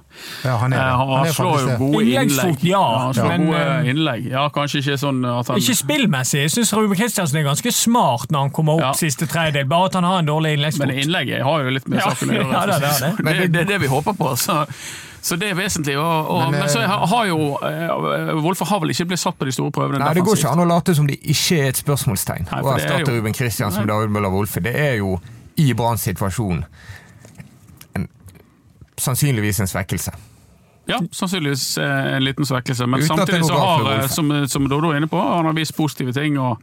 [SPEAKER 4] ja han er,
[SPEAKER 3] Eh,
[SPEAKER 4] det.
[SPEAKER 3] Han,
[SPEAKER 4] han er
[SPEAKER 3] slår jo
[SPEAKER 4] faktisk det.
[SPEAKER 3] gode innlegg.
[SPEAKER 5] Innleggsfot, ja,
[SPEAKER 3] han slår
[SPEAKER 5] men,
[SPEAKER 3] gode
[SPEAKER 5] eh,
[SPEAKER 3] innlegg. Ja, kanskje ikke sånn at han
[SPEAKER 5] Ikke spillmessig. Jeg syns Ruben Kristiansen er ganske smart når han kommer opp
[SPEAKER 3] Ja.
[SPEAKER 5] siste tredjedel, bare at han har en dårlig
[SPEAKER 3] Men
[SPEAKER 5] innleggsfot.
[SPEAKER 3] innlegget har jo litt med
[SPEAKER 5] Ja,
[SPEAKER 3] saken å gjøre.
[SPEAKER 5] ja, det er det.
[SPEAKER 3] Så det, det er det vi håper på. Så, så det er vesentlig. Og, og,
[SPEAKER 4] Men,
[SPEAKER 3] men,
[SPEAKER 4] eh,
[SPEAKER 3] så har har jo eh, Wolfe har vel ikke blitt satt på de store prøvene
[SPEAKER 2] Nei, Det går
[SPEAKER 3] defensivt.
[SPEAKER 2] ikke an å late som det ikke er et spørsmålstegn å
[SPEAKER 3] Nei, for det er
[SPEAKER 2] erstatte
[SPEAKER 3] jo-
[SPEAKER 2] Ruben Kristiansen med
[SPEAKER 3] Nei.
[SPEAKER 2] David Møller Wolfe. Det er jo, i Branns situasjon, en, sannsynligvis en svekkelse.
[SPEAKER 3] Ja, sannsynligvis eh, en liten svekkelse. Men
[SPEAKER 2] Uten at det er noe
[SPEAKER 3] samtidig så
[SPEAKER 2] galt med
[SPEAKER 3] har, eh,
[SPEAKER 2] Wolfe.
[SPEAKER 3] som, som Dodo er inne på, han har vist positive ting, og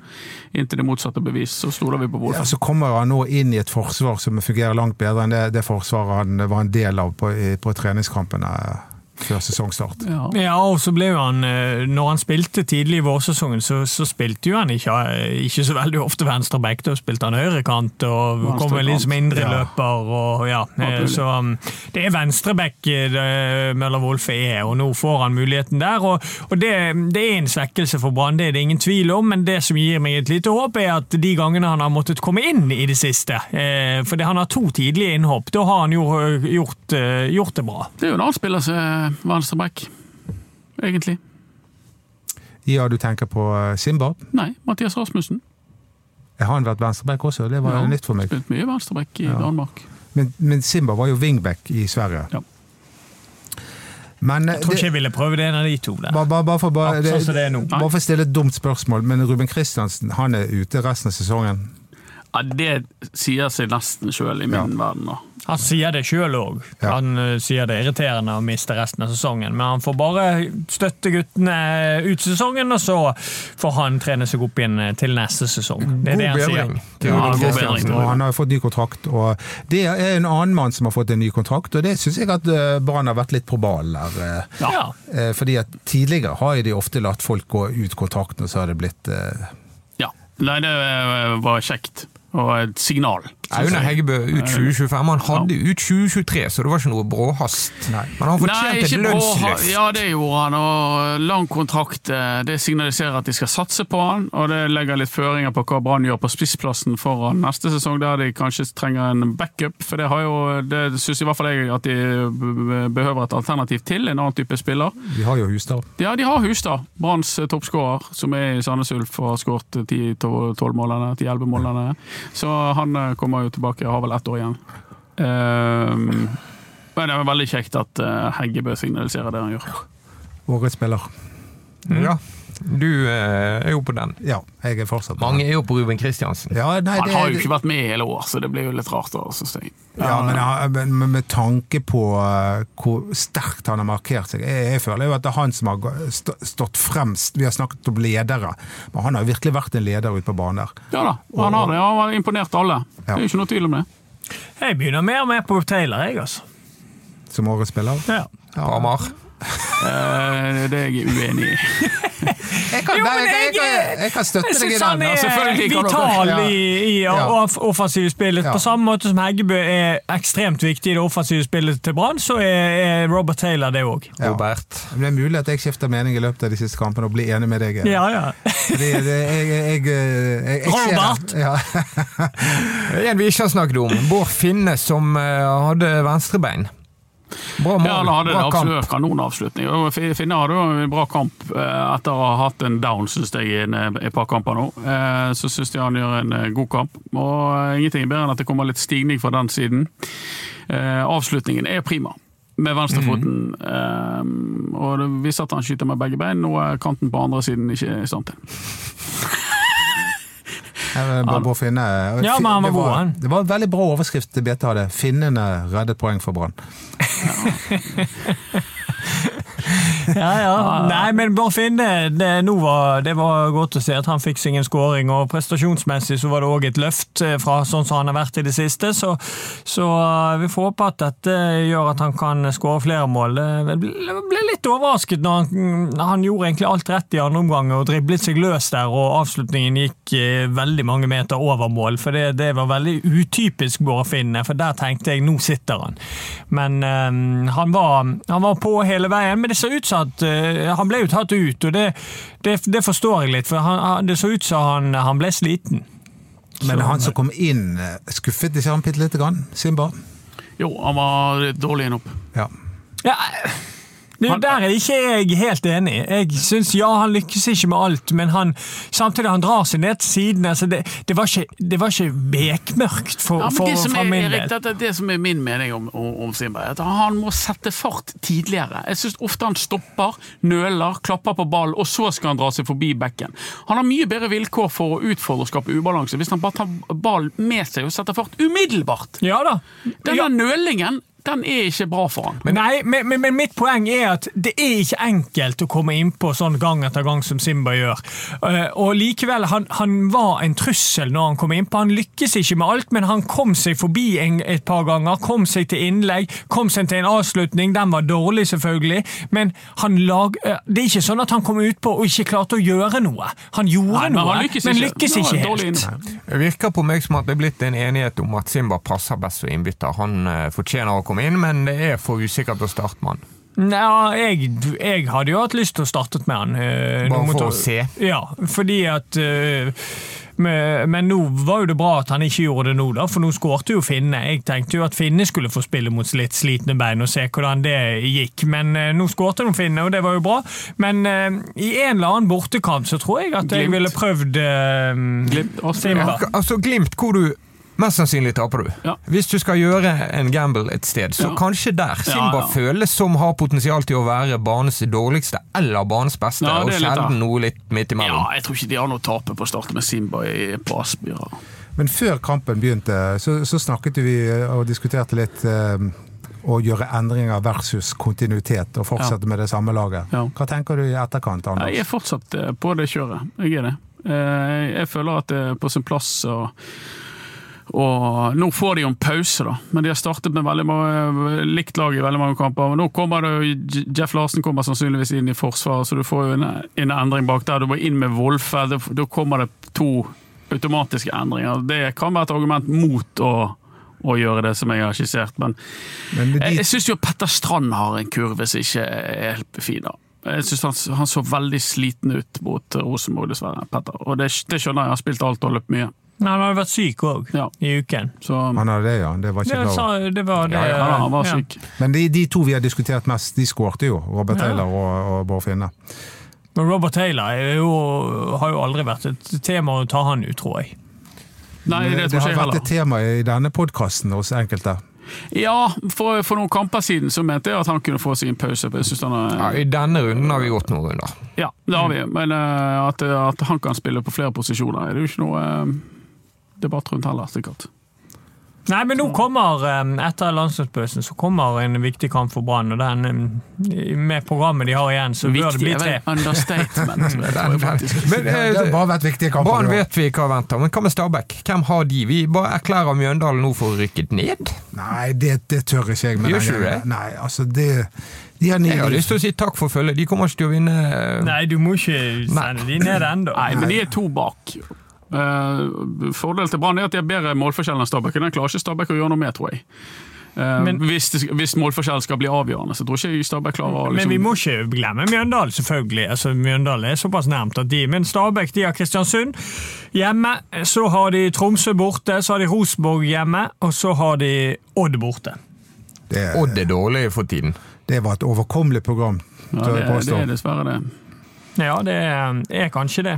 [SPEAKER 3] inntil det motsatte bevis, så stoler vi på
[SPEAKER 4] Ja,
[SPEAKER 3] Wolfe.
[SPEAKER 4] så kommer han nå inn i et forsvar som fungerer langt bedre enn det, det forsvaret han var en del av på, i- på treningskampene eh, før sesongstart.
[SPEAKER 3] Ja.
[SPEAKER 5] Ja, og så ble jo han, eh, når han spilte tidlig i vårsesongen, så, så spilte jo han ikke, eh, ikke så veldig ofte venstre back, da spilte han høyrekant og
[SPEAKER 3] Venstre
[SPEAKER 5] kom vel inn som
[SPEAKER 3] kant,
[SPEAKER 5] indreløper og ja. eh,
[SPEAKER 3] Naturlig.
[SPEAKER 5] Så um, det er venstre back eh, det Møller Wolfe er, og nå får han muligheten der. Og, og det, det er en svekkelse for Brann, det er det ingen tvil om, men det som gir meg et lite håp, er at de gangene han har måttet komme inn i det siste, eh, for det, han har to tidlige innhopp, da har han jo eh, gjort, eh, gjort det bra.
[SPEAKER 3] Det er jo en annen spiller som er venstreback, egentlig.
[SPEAKER 4] Ja, du tenker på eh, Simba.
[SPEAKER 3] Nei, Mathias Rasmussen.
[SPEAKER 4] Har han vært venstreback også? Det var
[SPEAKER 3] Ja,
[SPEAKER 4] nytt for meg.
[SPEAKER 3] Spilt mye venstreback i Danmark.
[SPEAKER 4] Men, men Simba var jo wingback i Sverige.
[SPEAKER 3] Ja.
[SPEAKER 4] Men eh,
[SPEAKER 5] Jeg tror ikke
[SPEAKER 4] det,
[SPEAKER 5] jeg ville prøve det en av de to der.
[SPEAKER 4] bare, bare, bare, for, bare,
[SPEAKER 5] Ja, sånn som det er nå.
[SPEAKER 4] bare for å stille et dumt spørsmål, men Ruben Kristiansen han er ute resten av sesongen.
[SPEAKER 3] Ja, det sier seg nesten sjøl i min
[SPEAKER 4] Ja.
[SPEAKER 3] verden, da.
[SPEAKER 5] Han sier det sjøl òg.
[SPEAKER 4] Ja.
[SPEAKER 5] Han eh, sier det er irriterende å miste resten av sesongen, men han får bare støtte guttene ut sesongen, og så får han trene seg opp igjen eh, til neste sesong. Det er det han sier.
[SPEAKER 2] til Ruben
[SPEAKER 3] Ja, god
[SPEAKER 2] Kristiansen.
[SPEAKER 3] bedring.
[SPEAKER 4] Og han har jo fått ny kontrakt, og det er en annen mann som har fått en ny kontrakt, og det syns jeg at eh, Brann har vært litt på ballen der. eh.
[SPEAKER 5] Ja.
[SPEAKER 4] Eh, Fordi at tidligere har jo de ofte latt folk gå ut kontrakten, og så har det blitt eh,
[SPEAKER 3] Ja, Nei, det eh, var kjekt. Og et signal.
[SPEAKER 2] Aune Heggebø ut 2025. Han hadde ut 2023, så det var ikke noe bråhast.
[SPEAKER 4] Nei.
[SPEAKER 2] Men han
[SPEAKER 3] Nei,
[SPEAKER 2] fortjente et
[SPEAKER 3] ikke bra.
[SPEAKER 2] lønnsløft.
[SPEAKER 3] Ja, det gjorde han. Og lang kontrakt. eh, Det signaliserer at de skal satse på han, og det legger litt føringer på hva Brann gjør på spissplassen foran neste sesong, der de kanskje trenger en backup. For det, har jo, det syns i hvert fall jeg at de b- b- behøver et alternativ til, en annen type spiller.
[SPEAKER 4] Vi har jo Hustad.
[SPEAKER 3] Ja, de har Hustad, Branns eh, toppskårer, som er i Sandnes Ulf og har skåret eh, 10-12-målene, 10-11-målene. Så han eh, kommer jo tilbake, har vel ett år igjen. Ehm, men det er veldig kjekt at eh, Heggebø signaliserer det han gjør.
[SPEAKER 4] Årets spiller. Mm.
[SPEAKER 2] Ja. Du eh, er jo på den.
[SPEAKER 4] Ja, jeg er fortsatt på
[SPEAKER 2] Mange
[SPEAKER 4] den.
[SPEAKER 2] er jo på Ruben Kristiansen.
[SPEAKER 4] Ja, nei,
[SPEAKER 3] Han
[SPEAKER 4] det,
[SPEAKER 3] har jo ikke vært med i hele år, så det blir jo litt rart. da, synes jeg.
[SPEAKER 4] Ja, men han- men, men med tanke på eh, hvor sterkt han har markert seg Jeg, jeg føler jo at det er han som har gå- stå- stått fremst. Vi har snakket om ledere, men han har jo virkelig vært en leder ute på banen der.
[SPEAKER 3] Ja da, og han har det. Ja, han har imponert alle. Det er jo ikke noe tvil om det.
[SPEAKER 5] Jeg begynner mer og mer på Taylor, jeg, altså.
[SPEAKER 4] Som årets spiller.
[SPEAKER 5] Ja.
[SPEAKER 2] På Amar.
[SPEAKER 3] Eh, det er jeg uenig i.
[SPEAKER 4] Jeg kan,
[SPEAKER 5] Jo,
[SPEAKER 4] nei,
[SPEAKER 5] men
[SPEAKER 4] jeg, jeg,
[SPEAKER 5] jeg-
[SPEAKER 4] jeg, jeg kan støtte
[SPEAKER 5] Jeg
[SPEAKER 4] deg i
[SPEAKER 5] syns han
[SPEAKER 4] den. altså.
[SPEAKER 5] er
[SPEAKER 3] selvfølgelig kan
[SPEAKER 5] vital
[SPEAKER 4] dere-
[SPEAKER 5] i, i
[SPEAKER 4] Ja.
[SPEAKER 5] off- offensivt spillet.
[SPEAKER 4] Ja.
[SPEAKER 5] På samme måte som Heggebø er ekstremt viktig i det offensive spillet til Brann, så er er Robert Taylor det òg.
[SPEAKER 4] Ja.
[SPEAKER 2] Robert.
[SPEAKER 4] Men Det er mulig at jeg skifter mening i løpet av de siste kampene og blir enig med deg.
[SPEAKER 5] Ja, ja.
[SPEAKER 4] Fordi det, jeg, jeg, jeg, jeg, jeg ser
[SPEAKER 5] Robert!
[SPEAKER 4] det. Ja.
[SPEAKER 2] En vi ikke har snakket om. Bård Finne, som eh, hadde venstrebein. Bra mål.
[SPEAKER 3] Ja, han hadde
[SPEAKER 2] Bra
[SPEAKER 3] det absolutt kanonavslutning. Og Fi- Finne hadde jo en bra kamp eh, etter å ha hatt en down, synes jeg, i en- et par kamper nå. Eh, Så synes jeg han gjør en eh, god kamp. Og eh, ingenting er bedre enn at det kommer litt stigning fra den siden. Eh, Avslutningen er prima. Med venstrefoten. eh, og det viser at han skyter med begge bein, noe kanten på andre siden ikke er i stand til.
[SPEAKER 4] Jeg vil bare, bare finne.
[SPEAKER 5] Ja, men han var
[SPEAKER 4] det
[SPEAKER 5] god, han.
[SPEAKER 4] Det var en veldig bra overskrift BT hadde. 'Finnene reddet poeng for Brann'.
[SPEAKER 5] ja, ja. Nei, men Bård Finne, det, nå var, det var godt å se at han fikk seg en skåring. Og prestasjonsmessig så var det òg et løft eh, fra sånn som han har vært i det siste. Så, så eh, vi får håpe at dette eh, gjør at han kan skåre flere mål. Eh, Jeg ble- jeg ble litt overrasket når han, han gjorde egentlig alt rett i andre omgang og driblet seg løs der, og avslutningen gikk eh, veldig mange meter over mål. For det, det var veldig utypisk Bård Finne, for der tenkte jeg nå sitter han. Men eh, han, var, han var på hele veien. Men det ser ut som at eh, han ble jo tatt ut, og det, det, det forstår jeg litt. For han, han- det så ut som han, han ble sliten.
[SPEAKER 4] Men han som kom inn, eh, skuffet ikke han bitte lite grann? Simba?
[SPEAKER 3] Jo, han var litt dårlig inn opp.
[SPEAKER 4] Ja.
[SPEAKER 5] Ja, det er jo
[SPEAKER 3] Han-
[SPEAKER 5] der er ikke jeg helt enig. Jeg synes, Ja, han lykkes ikke med alt, men han, samtidig han drar seg ned til siden. Altså det, det, var ikke, det var ikke bekmørkt for,
[SPEAKER 3] Ja, men
[SPEAKER 5] for,
[SPEAKER 3] det, som
[SPEAKER 5] for
[SPEAKER 3] er,
[SPEAKER 5] min
[SPEAKER 3] Erik,
[SPEAKER 5] del.
[SPEAKER 3] dette, er det som er min mening om, om, om Simba, er at han må sette fart tidligere. Jeg syns ofte han stopper, nøler, klapper på ballen, og så skal han dra seg forbi bekken. Han har mye bedre vilkår for å utfordre og skape ubalanse hvis han bare tar ballen med seg og setter fart umiddelbart.
[SPEAKER 5] Ja da.
[SPEAKER 3] Denne nølingen den er ikke bra for han.
[SPEAKER 5] Nei, men, men, men mitt poeng er at det er ikke enkelt å komme innpå sånn gang etter gang som Simba gjør. Eh, og likevel, han, han var en trussel når han kom innpå. Han lykkes ikke med alt, men han kom seg forbi en, et par ganger. Kom seg til innlegg, kom seg til en avslutning. Den var dårlig, selvfølgelig, men han lag, eh, det er ikke sånn at han kom utpå og ikke klarte å gjøre noe. Han
[SPEAKER 3] Nei,
[SPEAKER 5] gjorde
[SPEAKER 3] men
[SPEAKER 5] noe,
[SPEAKER 3] han lykkes
[SPEAKER 5] men
[SPEAKER 3] ikke.
[SPEAKER 5] lykkes
[SPEAKER 3] Det var
[SPEAKER 5] ikke
[SPEAKER 3] dårlig
[SPEAKER 5] helt.
[SPEAKER 3] innhold.
[SPEAKER 2] Det virker på meg som at det er blitt en enighet om at Simba passer best som innbytter. Han eh, fortjener å komme inn, men det er for usikkert å starte med han.
[SPEAKER 5] Nja, jeg, jeg hadde jo hatt lyst til å starte med han. eh,
[SPEAKER 2] Bare
[SPEAKER 5] nå mot-
[SPEAKER 2] for å se.
[SPEAKER 5] Ja, fordi at eh, men, men nå var jo det bra at han ikke gjorde det nå, da, for nå skårte jo Finne. Jeg tenkte jo at Finne skulle få spille mot litt slitne bein og se hvordan det gikk, men eh, nå skårte nå Finne, og det var jo bra. Men eh, i en eller annen bortekamp så tror jeg at jeg
[SPEAKER 3] Glimt.
[SPEAKER 5] ville prøvd eh,
[SPEAKER 3] Glimt, Aspen,
[SPEAKER 5] Simba.
[SPEAKER 2] Ak- Altså, Glimt, hvor du mest sannsynlig taper du.
[SPEAKER 3] Ja.
[SPEAKER 2] Hvis du skal gjøre en gamble et sted, så
[SPEAKER 3] Ja.
[SPEAKER 2] kanskje der. Simba
[SPEAKER 3] ja.
[SPEAKER 2] føles som har potensial til å være banens dårligste eller banens beste,
[SPEAKER 3] Ja,
[SPEAKER 2] og
[SPEAKER 3] det er litt
[SPEAKER 2] sjelden
[SPEAKER 3] det.
[SPEAKER 2] noe litt midt
[SPEAKER 3] Ja,
[SPEAKER 2] imellom.
[SPEAKER 3] jeg tror ikke de har noe å tape på å starte med Simba i, på Aspmyra.
[SPEAKER 4] Men før kampen begynte, så, så snakket vi eh, og diskuterte litt eh, å gjøre endringer versus kontinuitet, og fortsette med det samme laget.
[SPEAKER 3] Ja.
[SPEAKER 4] Hva tenker du i etterkant, Anders?
[SPEAKER 3] Jeg er fortsatt eh, på det kjøret. Jeg er det. Eh, Jeg føler at det er på sin plass å og Nå får de jo en pause, da, men de har startet med veldig mange, likt lag i veldig mange kamper. Og nå kommer det, jo- J- Jeff Larsen kommer sannsynligvis inn i forsvaret, så du får jo en, en endring bak der. Du må inn med Wolfe. Da kommer det to automatiske endringer. Det kan være et argument mot å, å gjøre det som jeg har skissert, men
[SPEAKER 4] Men med
[SPEAKER 3] jeg,
[SPEAKER 4] de
[SPEAKER 3] jeg syns jo Petter Strand har en kurve som ikke er helt fin. da. Jeg synes han, han så veldig sliten ut mot Rosenborg, dessverre. Petter. Og det, det skjønner jeg, han har spilt alt og løpt mye.
[SPEAKER 5] Men Han hadde vært syk òg
[SPEAKER 3] Ja.
[SPEAKER 5] i uken.
[SPEAKER 3] Så
[SPEAKER 4] Han hadde det, ja. Det var
[SPEAKER 5] Det,
[SPEAKER 4] ikke bra.
[SPEAKER 5] sa, det var det
[SPEAKER 3] ja, ja, han var
[SPEAKER 5] ja.
[SPEAKER 3] syk.
[SPEAKER 4] Men de, de to vi har diskutert mest, de skårte jo. Robert
[SPEAKER 5] Ja.
[SPEAKER 4] Taylor og, og Bård Finne.
[SPEAKER 5] Men Robert Taylor er jo, har jo aldri vært et tema å ta han ut, tror jeg.
[SPEAKER 3] Nei, det, tror ikke
[SPEAKER 4] eh, har
[SPEAKER 3] jeg
[SPEAKER 4] vært
[SPEAKER 3] heller.
[SPEAKER 4] et tema i denne podkasten hos enkelte.
[SPEAKER 3] Ja, for, for noen kamper siden så mente jeg at han kunne få seg en pause. for jeg synes han er,
[SPEAKER 2] Ja, I denne runden har vi gått noen runder.
[SPEAKER 3] ja, det har vi. Men eh, at, at han kan spille på flere posisjoner, er det jo ikke noe eh, debatt rundt heller. sikkert.
[SPEAKER 5] Nei, men nå kommer, eh, etter landslagspausen, så kommer en viktig kamp for Brann. Og den, eh, med programmet de har igjen, så bør det bli
[SPEAKER 3] er
[SPEAKER 5] tre.
[SPEAKER 3] vel understatement. tror jeg,
[SPEAKER 2] Den, den.
[SPEAKER 3] faktisk.
[SPEAKER 2] Men,
[SPEAKER 4] Det, det har
[SPEAKER 2] eh,
[SPEAKER 4] bare vært viktige kamper.
[SPEAKER 2] Brann
[SPEAKER 4] det var.
[SPEAKER 2] vet vi hva venter, men hva med Stabæk? Hvem har de? Vi bare erklærer Mjøndalen nå for å rykke ned.
[SPEAKER 4] Nei, det, det tør ikke jeg. med
[SPEAKER 2] Gjør
[SPEAKER 4] den
[SPEAKER 2] ikke du
[SPEAKER 4] gjengen.
[SPEAKER 2] det?
[SPEAKER 4] Nei, altså det de har ni-
[SPEAKER 2] Jeg har lyst til å si takk for følget. De kommer ikke til å vinne. eh,
[SPEAKER 5] Nei, du må ikke sende de ned ennå.
[SPEAKER 3] Nei, men de er to bak. Uh, fordelen til Brann er at de har bedre målforskjell enn Stabæk. Den klarer ikke Stabæk å gjøre noe med, tror jeg. Eh,
[SPEAKER 5] Men-
[SPEAKER 3] hvis, det, hvis målforskjellen skal bli avgjørende, så tror jeg ikke Stabæk klarer å
[SPEAKER 5] Men
[SPEAKER 3] liksom,
[SPEAKER 5] vi må ikke glemme Mjøndalen, selvfølgelig. Altså, Mjøndalen er såpass nærmt at de Men Stabæk de har Kristiansund hjemme. Så har de Tromsø borte, så har de Rosenborg hjemme, og så har de Odd borte.
[SPEAKER 4] Det,
[SPEAKER 2] Odd er dårlig for tiden.
[SPEAKER 4] det var et overkommelig program,
[SPEAKER 3] ja,
[SPEAKER 4] tør jeg
[SPEAKER 3] det, det
[SPEAKER 4] påstå.
[SPEAKER 3] er dessverre det.
[SPEAKER 5] Ja, det er, er kanskje det.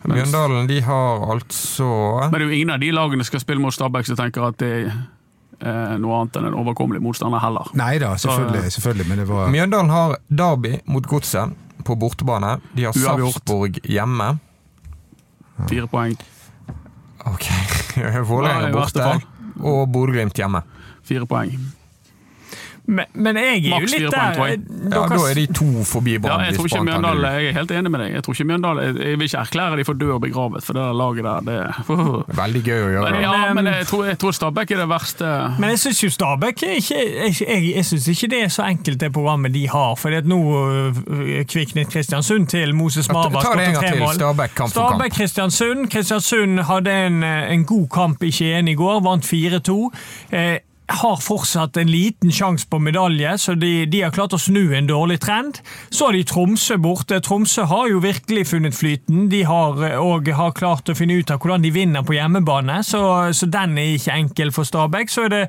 [SPEAKER 2] Mjøndalen de har altså
[SPEAKER 3] Men det er jo ingen av de lagene som skal spille mot Stabæk som tenker at det er eh, noe annet enn en overkommelig motstander heller.
[SPEAKER 4] Nei da, selvfølgelig, selvfølgelig, men det var
[SPEAKER 2] Mjøndalen har Derby mot Godset på bortebane. De har
[SPEAKER 3] Uavgjort.
[SPEAKER 2] Sarpsborg hjemme.
[SPEAKER 3] Fire poeng.
[SPEAKER 2] Ok,
[SPEAKER 3] Ja,
[SPEAKER 2] Vålerenga
[SPEAKER 3] i verste
[SPEAKER 2] borte.
[SPEAKER 3] fall.
[SPEAKER 2] Og Bodø-Glimt hjemme.
[SPEAKER 3] Fire poeng.
[SPEAKER 5] Men, men jeg er jo
[SPEAKER 3] Maks fire
[SPEAKER 5] litt
[SPEAKER 3] poeng,
[SPEAKER 5] der
[SPEAKER 3] tror jeg.
[SPEAKER 2] Ja,
[SPEAKER 5] Dere-
[SPEAKER 2] Da er de to forbi
[SPEAKER 3] Ja,
[SPEAKER 2] Brann.
[SPEAKER 3] jeg, tror
[SPEAKER 2] hvis
[SPEAKER 3] ikke
[SPEAKER 2] Brann tar
[SPEAKER 3] Mjøndalen,
[SPEAKER 2] null.
[SPEAKER 3] jeg er helt enig med deg. Jeg tror ikke Mjøndalen, jeg- jeg vil ikke erklære de for død og begravet, for det der laget der det,
[SPEAKER 2] Veldig gøy å gjøre.
[SPEAKER 3] Men,
[SPEAKER 2] det.
[SPEAKER 3] ja, men jeg tror, jeg tror Stabæk er det verste
[SPEAKER 5] Men jeg syns jo Stabæk er ikke, jeg, jeg, jeg synes ikke det er så enkelt, det programmet de har. For nå øh, kviknet Kristiansund til Moses
[SPEAKER 2] Ja, ta-
[SPEAKER 5] Marbach.
[SPEAKER 2] ta det en
[SPEAKER 5] skåret
[SPEAKER 2] gang
[SPEAKER 5] tre
[SPEAKER 2] til.
[SPEAKER 5] mål.
[SPEAKER 2] Stabæk, kamp for kamp.
[SPEAKER 5] Stabæk, Kristiansund. Kristiansund hadde en, eh, en god kamp i Skien i går, vant 4-2. Eh, har fortsatt en liten sjanse på medalje, så de, de har klart å snu en dårlig trend. Så har de Tromsø borte. Tromsø har jo virkelig funnet flyten. De har eh, og har klart å finne ut av hvordan de vinner på hjemmebane, så, så den er ikke enkel for Stabæk. Så er det,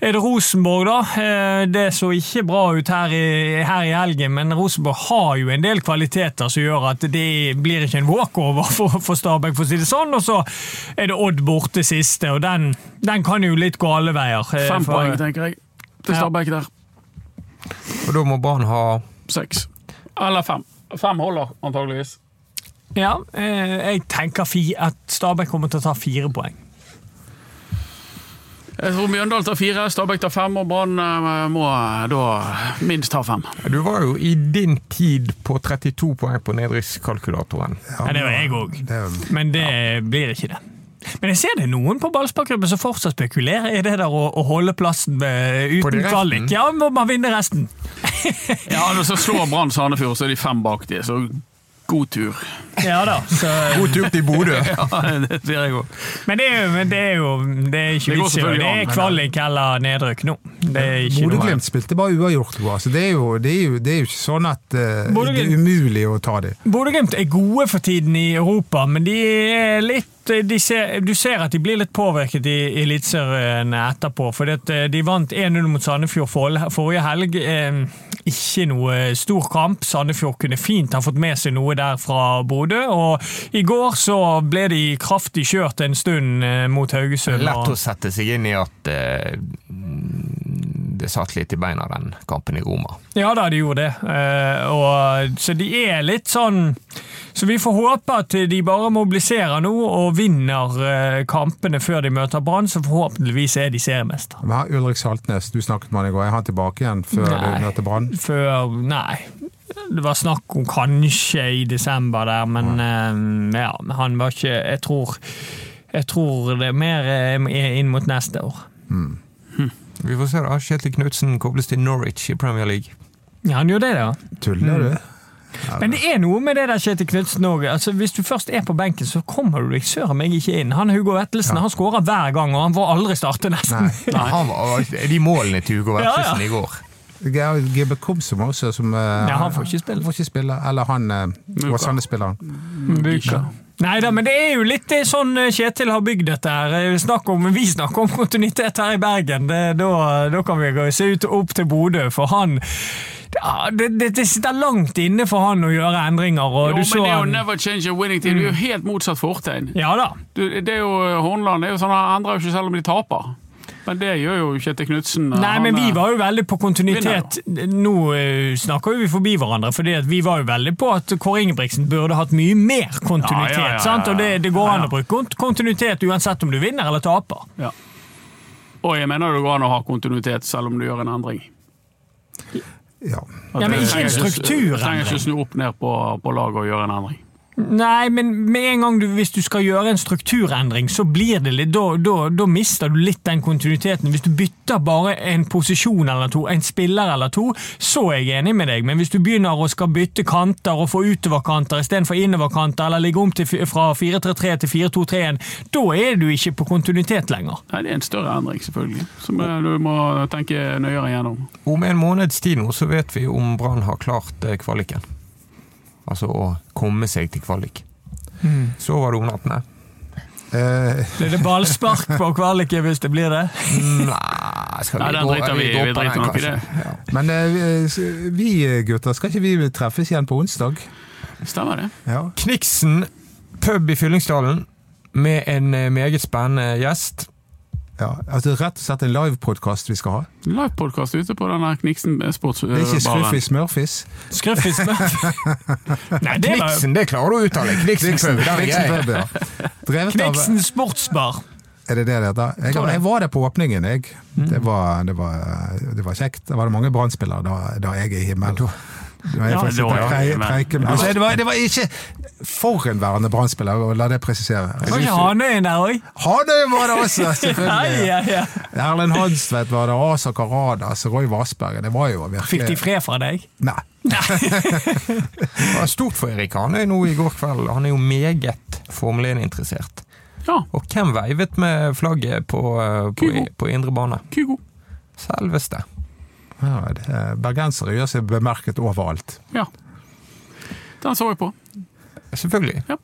[SPEAKER 5] er det Rosenborg, da. Eh, Det så ikke bra ut her i, her i helgen, men Rosenborg har jo en del kvaliteter som gjør at det blir ikke en walkover for, for Stabæk, for å si det sånn. Og så er det Odd borte siste, og den, den kan jo litt gå alle veier. eh,
[SPEAKER 3] Fem
[SPEAKER 5] for-
[SPEAKER 3] poeng, tenker jeg. Til
[SPEAKER 5] Ja.
[SPEAKER 3] Stabæk der.
[SPEAKER 2] Og da må Brann ha
[SPEAKER 3] Seks. Eller fem. Fem holder, antageligvis.
[SPEAKER 5] Ja, eh, jeg tenker fi, at Stabæk kommer til å ta fire poeng.
[SPEAKER 3] Jeg tror Mjøndalen tar fire, Stabæk tar fem, og Brann eh, må da minst ta fem.
[SPEAKER 2] Du var jo i din tid på 32 poeng på nedrykkskalkulatoren.
[SPEAKER 5] Ja, det var jeg òg.
[SPEAKER 4] det,
[SPEAKER 5] Men det blir ikke det. Men jeg ser det er noen på ballsparkgruppen som fortsatt spekulerer i det der å, å holde plassen eh,
[SPEAKER 2] På de
[SPEAKER 5] uten
[SPEAKER 2] resten?
[SPEAKER 5] kvalik. Ja, må man vinne resten.
[SPEAKER 3] Ja, Når så slår Brann Sandefjord, så er de fem bak de, så god tur.
[SPEAKER 5] Ja da. Så,
[SPEAKER 2] God tur til Bodø!
[SPEAKER 3] det sier jeg òg.
[SPEAKER 5] men, det er, jo- men det er jo det er
[SPEAKER 3] Det går
[SPEAKER 5] ikke vits i å-
[SPEAKER 3] selvfølgelig
[SPEAKER 5] Det
[SPEAKER 3] an,
[SPEAKER 5] er
[SPEAKER 3] men-
[SPEAKER 5] kvalik eller nedrykk nå. Det er ikke noe
[SPEAKER 4] Bodø-Glimt spilte bare uavgjort. jo, Altså, det, er jo, det, er jo, det er jo ikke sånn at eh, det
[SPEAKER 5] Bodø-Glimt-
[SPEAKER 4] er umulig å ta dem.
[SPEAKER 5] Bodø-Glimt er gode for tiden i Europa, men de er litt eh, de ser, Du ser at de blir litt påvirket i i Eliteserien etterpå. For de vant 1-0 mot Sandefjord for, forrige helg. Eh, ikke noe stor kamp. Sandefjord kunne fint ha fått med seg noe der fra Bodø. Og i går så ble de kraftig kjørt en stund eh, mot Haugesund.
[SPEAKER 2] Lett
[SPEAKER 5] og-
[SPEAKER 2] å sette seg inn i at eh, det satt litt i beina den kampen i Roma.
[SPEAKER 5] Ja da, de gjorde det. Eh, og, så de er litt sånn Så vi får håpe at de bare mobiliserer nå og vinner eh, kampene før de møter Brann, så forhåpentligvis er de seriemester.
[SPEAKER 4] Men her, Ulrik Saltnes, du snakket med han i går. Er han tilbake igjen før du
[SPEAKER 5] Nei.
[SPEAKER 4] møter Brann?
[SPEAKER 5] Før Nei. Det var snakk om kanskje i desember der, men eh, ja, han var ikke Jeg tror, jeg tror det er mer eh, er inn mot neste år.
[SPEAKER 2] Vi får se, da. Kjetil Knutsen kobles til Norwich i Premier League.
[SPEAKER 5] Ja, han gjorde det, da.
[SPEAKER 2] Mm.
[SPEAKER 4] Tuller du?
[SPEAKER 5] Men det er noe med det der Kjetil Knutsen òg. Altså, hvis du først er på benken, så kommer du deg søren meg ikke inn. Han Hugo Vettelsen han skårer hver gang, og han får aldri starte, nesten.
[SPEAKER 2] Nei, han var, de målene til Hugo
[SPEAKER 5] Ja, ja.
[SPEAKER 2] Vettelsen i går
[SPEAKER 4] Geir Gibbe Komsom også, som eh,
[SPEAKER 5] Nei, han får ikke spille.
[SPEAKER 4] får ikke spille. Eller han eh,
[SPEAKER 3] Muka.
[SPEAKER 4] Åsane-spilleren.
[SPEAKER 3] Muka.
[SPEAKER 5] Nei da, men det er jo litt det sånn eh, Kjetil har bygd dette her. Eh, Snakk om, vi snakker om kontinuitet her i Bergen. Det, da, da kan vi gå- se ut opp til Bodø, for han ja, det, det, det sitter langt inne for han å gjøre endringer. Og
[SPEAKER 3] Jo,
[SPEAKER 5] du
[SPEAKER 3] men
[SPEAKER 5] så Mm.
[SPEAKER 3] det er jo
[SPEAKER 5] han,
[SPEAKER 3] never change a winning team. Det er jo helt motsatt fortegn.
[SPEAKER 5] ja da.
[SPEAKER 3] Du, det er jo Hornland det er jo sånn, han endrer jo ikke selv om de taper. Men det gjør jo Kjetil Knutsen.
[SPEAKER 5] Nei, men
[SPEAKER 3] eh,
[SPEAKER 5] vi var jo veldig på kontinuitet. Nå eh, snakker jo vi forbi hverandre, fordi at vi var jo veldig på at Kåre Ingebrigtsen burde hatt mye mer kontinuitet.
[SPEAKER 3] Ja, ja, ja, ja,
[SPEAKER 5] sant? Og det, det går
[SPEAKER 3] ja, ja.
[SPEAKER 5] an å bruke kont- kontinuitet uansett om du vinner eller taper.
[SPEAKER 3] Og jeg mener det går an å ha kontinuitet selv om du gjør en endring.
[SPEAKER 4] Ja.
[SPEAKER 3] At
[SPEAKER 5] Ja, men
[SPEAKER 3] du
[SPEAKER 5] ikke en
[SPEAKER 3] trenger
[SPEAKER 5] strukturendring.
[SPEAKER 3] Du trenger ikke snu opp ned på, på laget og gjøre en endring.
[SPEAKER 5] Nei, men med en gang du, hvis du skal gjøre en strukturendring, så blir det litt, da, da, da mister du litt den kontinuiteten. Hvis du bytter bare en posisjon eller to, en spiller eller to, så er jeg enig med deg. Men hvis du begynner å skal bytte kanter og få utoverkanter istedenfor innoverkanter, eller ligge om til, fi- fra 4-3-3 til 4-2-3-1, da er du ikke på kontinuitet lenger.
[SPEAKER 3] Nei, det er en større endring, selvfølgelig, som eh, du må tenke nøyere gjennom.
[SPEAKER 2] Om en måneds tid nå så vet vi om Brann har klart eh, kvaliken. Altså å komme seg til kvalik.
[SPEAKER 3] Hmm.
[SPEAKER 2] Så var det om nattene.
[SPEAKER 4] Eh,
[SPEAKER 5] Blir det ballspark på kvaliket hvis det blir det?
[SPEAKER 2] Mm, Nei, skal
[SPEAKER 3] Nei, den
[SPEAKER 2] gå-
[SPEAKER 3] driter vi i.
[SPEAKER 2] går
[SPEAKER 3] Vi
[SPEAKER 2] på den,
[SPEAKER 3] driter nok i
[SPEAKER 2] kanskje? Ja.
[SPEAKER 4] men eh, s- vi eh, gutter, skal ikke vi treffes igjen på onsdag?
[SPEAKER 3] Stemmer det?
[SPEAKER 4] Ja.
[SPEAKER 2] Kniksen pub i Fyllingsdalen med en eh, meget spennende gjest.
[SPEAKER 4] ja. Altså rett og slett en livepodkast vi skal ha.
[SPEAKER 3] Livepodkast ute på den her Kniksen eh,
[SPEAKER 4] Det er ikke
[SPEAKER 3] sportsbaren.
[SPEAKER 4] Scruffy Smurfys.
[SPEAKER 5] Skruffis Nei, det var
[SPEAKER 2] Kniksen, det klarer du å uttale! Kniksen pub, den er grei.
[SPEAKER 4] Pub, ja. Drevet av
[SPEAKER 5] Kniksen sportsbar.
[SPEAKER 4] Er det det det heter? Jeg,
[SPEAKER 5] Tror det.
[SPEAKER 4] jeg var der på åpningen, jeg. Det var, det var, det var kjekt. Da var det mange Brann-spillere da, da jeg er i himmelen. Da jeg
[SPEAKER 3] Ja,
[SPEAKER 4] får
[SPEAKER 3] det
[SPEAKER 4] sitte
[SPEAKER 3] var
[SPEAKER 4] og
[SPEAKER 3] jo
[SPEAKER 4] prei-
[SPEAKER 3] himmelen.
[SPEAKER 4] preike med- altså, det, var, det var ikke forhenværende Brann-spillere, og la det presisere.
[SPEAKER 5] Var ikke Hanøyen der òg?
[SPEAKER 4] Hanøy var det også,
[SPEAKER 5] Ja,
[SPEAKER 4] selvfølgelig!
[SPEAKER 5] ja, ja.
[SPEAKER 4] Erlend Hanstvedt var det, Asa Karadas, Roy Vassberg. Det var jo
[SPEAKER 5] Fikk de
[SPEAKER 4] virkelig
[SPEAKER 5] fred fra deg?
[SPEAKER 4] Nei.
[SPEAKER 2] Det var stort for Erik Hanøy nå i går kveld. Han er jo meget Formel 1-interessert.
[SPEAKER 3] Ja,
[SPEAKER 2] Og hvem veivet med flagget på, eh, på,
[SPEAKER 3] Kygo.
[SPEAKER 2] på indre bane?
[SPEAKER 3] Kygo.
[SPEAKER 2] Selveste.
[SPEAKER 4] Ja, det, bergensere gjør seg bemerket overalt.
[SPEAKER 3] Ja. Den så jeg på.
[SPEAKER 2] Selvfølgelig. Nei,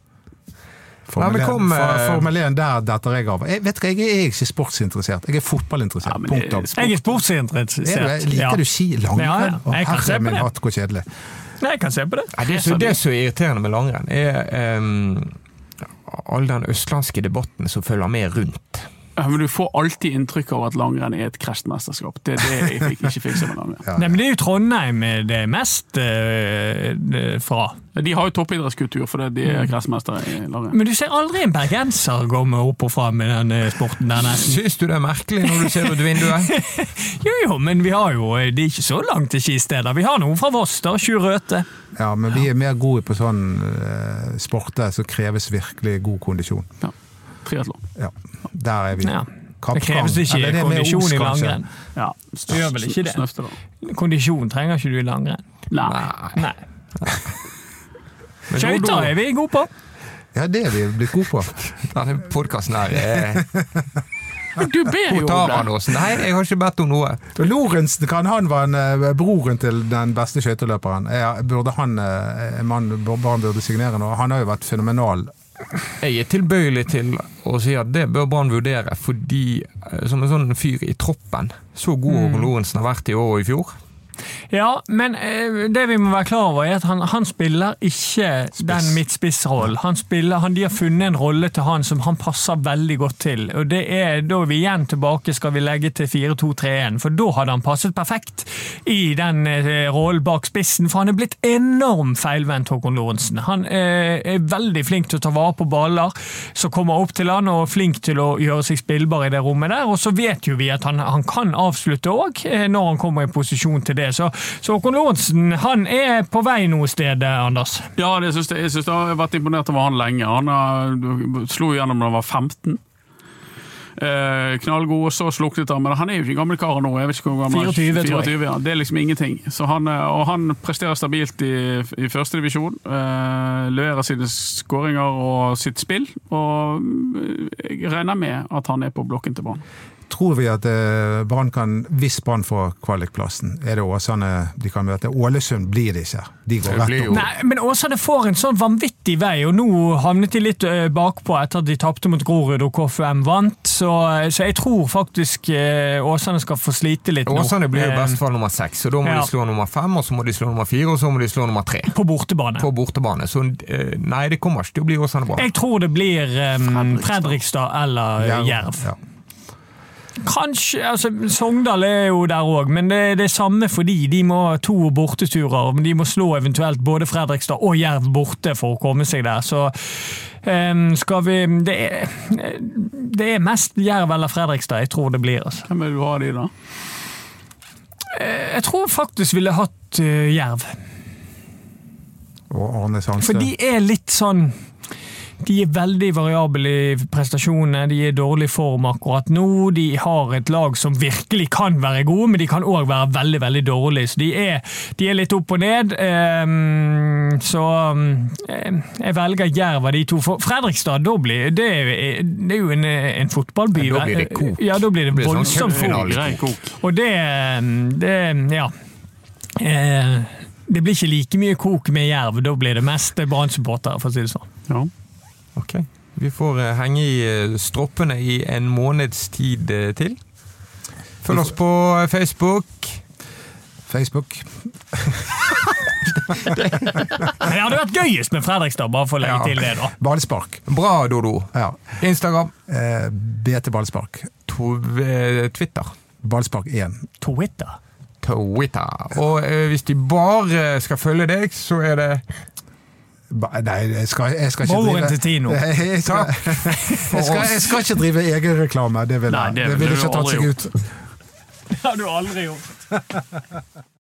[SPEAKER 4] Formel
[SPEAKER 2] men
[SPEAKER 4] 1,
[SPEAKER 2] kom, eh,
[SPEAKER 4] Formel 1 der detter jeg av. Jeg, vet dere, jeg er ikke sportsinteressert, jeg er fotballinteressert.
[SPEAKER 3] Ja, men det-
[SPEAKER 4] Punktum.
[SPEAKER 5] Jeg er
[SPEAKER 4] Er du,
[SPEAKER 5] sportsinteressert.
[SPEAKER 4] liker
[SPEAKER 5] Ja.
[SPEAKER 4] du ski langrenn?
[SPEAKER 5] Ja, ja.
[SPEAKER 4] Å,
[SPEAKER 5] Jeg kan se
[SPEAKER 4] Herre
[SPEAKER 5] på
[SPEAKER 4] min
[SPEAKER 5] det.
[SPEAKER 4] hatt, hvor kjedelig.
[SPEAKER 5] Nei, jeg kan se på det.
[SPEAKER 2] Ja, det, som, det som er irriterende med langrenn, er um, all den østlandske debatten som følger med rundt.
[SPEAKER 3] Ja, men du får alltid inntrykk av at langrenn er et krasjmesterskap. Det er det jeg fikk ikke fiksa med langrenn.
[SPEAKER 5] Nei, men Det er jo Trondheim det er mest eh, eh, fra.
[SPEAKER 3] De har jo toppidrettskultur, for det, de
[SPEAKER 4] Mm.
[SPEAKER 3] er krasjmestere i langrenn.
[SPEAKER 5] Men du ser aldri en bergenser gå med opp og fram i den eh, sporten der, nesten.
[SPEAKER 2] Syns du det er merkelig når du ser ut vinduet?
[SPEAKER 5] Jo, jo, men vi har jo eh, Det er ikke så langt til skisteder. Vi har noen fra Voss, da. Sju Røthe.
[SPEAKER 4] Ja, men vi er mer gode på sånn uh, sporter som kreves virkelig god kondisjon.
[SPEAKER 3] Triatlon.
[SPEAKER 4] Ja, der er vi.
[SPEAKER 5] Ja.
[SPEAKER 4] Kappgang.
[SPEAKER 5] Det kreves ikke
[SPEAKER 4] Eller det er mer
[SPEAKER 5] kondisjon
[SPEAKER 4] os,
[SPEAKER 5] i
[SPEAKER 4] kanskje.
[SPEAKER 5] langrenn.
[SPEAKER 3] Ja.
[SPEAKER 5] Du gjør vel ikke det?
[SPEAKER 3] Snøfte, da.
[SPEAKER 5] Kondisjon trenger ikke du i langrenn.
[SPEAKER 3] Nei.
[SPEAKER 5] Nei. Skøyter er vi gode på.
[SPEAKER 4] Ja, det er vi blitt gode på.
[SPEAKER 2] Denne podkasten her eh,
[SPEAKER 3] Men Du ber jo
[SPEAKER 2] Hvor tar han
[SPEAKER 3] om det!
[SPEAKER 2] oss? Nei, jeg har ikke bedt om noe.
[SPEAKER 4] Og Lorentzen, kan han være en, eh, broren til den beste skøyteløperen? Ja, burde han, eh, en mann Brann burde signere nå? Han har jo vært fenomenal.
[SPEAKER 2] Jeg er tilbøyelig til å si at det bør Brann vurdere, fordi eh, som en sånn fyr i troppen, så god
[SPEAKER 5] Mm.
[SPEAKER 2] Håkon Lorentzen har vært i år og i fjor.
[SPEAKER 5] Ja, men eh, det vi må være klar over er at han, han spiller ikke den midtspissrollen. Han spiller, han, de har funnet en rolle til han som han passer veldig godt til. Og det er da er vi igjen tilbake skal vi legge til 4-2-3-1, for da hadde han passet perfekt i den eh, rollen bak spissen. For han er blitt enorm feilvendt, Håkon Lorentzen. Han eh, er veldig flink til å ta vare på baller som kommer opp til han, og flink til å gjøre seg spillbar i det rommet der. Og så vet jo vi at han, han kan avslutte òg, når han kommer i posisjon til det. Så, så Håkon Lorentzen han er på vei noe sted, eh, Anders.
[SPEAKER 3] Ja, det syns jeg, jeg, syns jeg har vært imponert over han lenge. Han har, du, slo gjennom da han var 15. Eh, knallgod, og så sluknet han. Men han er jo ikke gammel kar nå. jeg vet ikke hvor gammel han er.
[SPEAKER 5] 24, tror jeg.
[SPEAKER 3] 24, ja. Det er liksom ingenting. Så han, eh, og han presterer stabilt i, i førstedivisjon. Eh, leverer sine skåringer og sitt spill. Og mm, jeg regner med at han er på blokken til Brann.
[SPEAKER 4] Tror vi at eh, Brann kan, hvis Brann får kvalikplassen, er det Åsane de kan møte? Ålesund blir det ikke. De går
[SPEAKER 2] Det
[SPEAKER 4] rett
[SPEAKER 2] blir
[SPEAKER 4] opp.
[SPEAKER 2] jo
[SPEAKER 5] Nei, men Åsane får en sånn vanvittig vei, og nå havnet de litt eh, bakpå etter at de tapte mot Grorud og KFUM vant, så, eh, så jeg tror faktisk eh, Åsane skal få slite litt nå.
[SPEAKER 2] Åsane blir i
[SPEAKER 5] Eh,
[SPEAKER 2] best fall nummer seks, så da må
[SPEAKER 5] Ja.
[SPEAKER 2] de slå nummer fem, og så må de slå nummer fire, og så må de slå nummer tre.
[SPEAKER 5] På bortebane.
[SPEAKER 2] På bortebane. Så eh, nei, det kommer ikke til å bli Åsane bra.
[SPEAKER 5] Jeg tror det blir eh,
[SPEAKER 3] Fredrikstad.
[SPEAKER 5] Fredrikstad eller eh, Jerv.
[SPEAKER 4] Ja.
[SPEAKER 5] Kanskje, altså Sogndal er jo der òg, men det, det er samme fordi de må ha to borteturer. Men de må slå eventuelt både Fredrikstad og Jerv borte for å komme seg der. Så ehm, skal vi det er, det er mest Jerv eller Fredrikstad jeg tror det blir. altså.
[SPEAKER 3] Hvem vil du ha de, da?
[SPEAKER 5] Jeg tror faktisk ville hatt eh, Jerv.
[SPEAKER 4] Og Arne
[SPEAKER 5] For
[SPEAKER 4] Sandstø.
[SPEAKER 5] de er litt sånn De er veldig variable i prestasjonene. De er i dårlig form akkurat nå. De har et lag som virkelig kan være gode, men de kan òg være veldig veldig dårlige. Så de er, de er litt opp og ned. Ehm, så ehm, jeg velger Jerv av de to. For Fredrikstad, da blir det, er- det er jo en, en fotballby.
[SPEAKER 2] Ja, da blir
[SPEAKER 5] vel?
[SPEAKER 2] det kok.
[SPEAKER 5] Ja, da blir det,
[SPEAKER 2] Det blir sånn
[SPEAKER 5] voldsomt
[SPEAKER 2] cupfinale.
[SPEAKER 5] fort.
[SPEAKER 2] Finale.
[SPEAKER 3] Grei kok.
[SPEAKER 5] Og det, mm, det Ja. Eh, Det blir ikke like mye kok med jerv. Da blir det mest Brann-supportere, for å si det sånn.
[SPEAKER 3] Ja.
[SPEAKER 2] Ok. Vi får eh, henge i eh, stroppene i en måneds tid eh, til. Følg oss på eh, Facebook.
[SPEAKER 4] Facebook.
[SPEAKER 5] Men det hadde vært gøyest med Fredrikstad, bare for å legge
[SPEAKER 2] Ja.
[SPEAKER 5] til det, da.
[SPEAKER 4] Ballspark.
[SPEAKER 2] Bra, Dodo.
[SPEAKER 4] Ja.
[SPEAKER 2] Instagram.
[SPEAKER 4] Eh, BT Ballspark.
[SPEAKER 2] To, eh, Twitter.
[SPEAKER 4] Ballspark 1.
[SPEAKER 5] Twitter.
[SPEAKER 2] Twitter. Og eh, hvis de bare skal følge deg, så er det
[SPEAKER 4] Ba, nei, jeg skal, jeg skal ikke
[SPEAKER 5] Broren
[SPEAKER 4] drive
[SPEAKER 5] til Tino.
[SPEAKER 4] Jeg, jeg, skal, jeg, skal, jeg skal ikke drive egenreklame. Det vil
[SPEAKER 3] Nei,
[SPEAKER 4] jeg
[SPEAKER 3] det
[SPEAKER 4] det vil
[SPEAKER 3] ville du
[SPEAKER 4] ikke tatt
[SPEAKER 3] aldri
[SPEAKER 4] seg ut.
[SPEAKER 5] Det har du aldri gjort.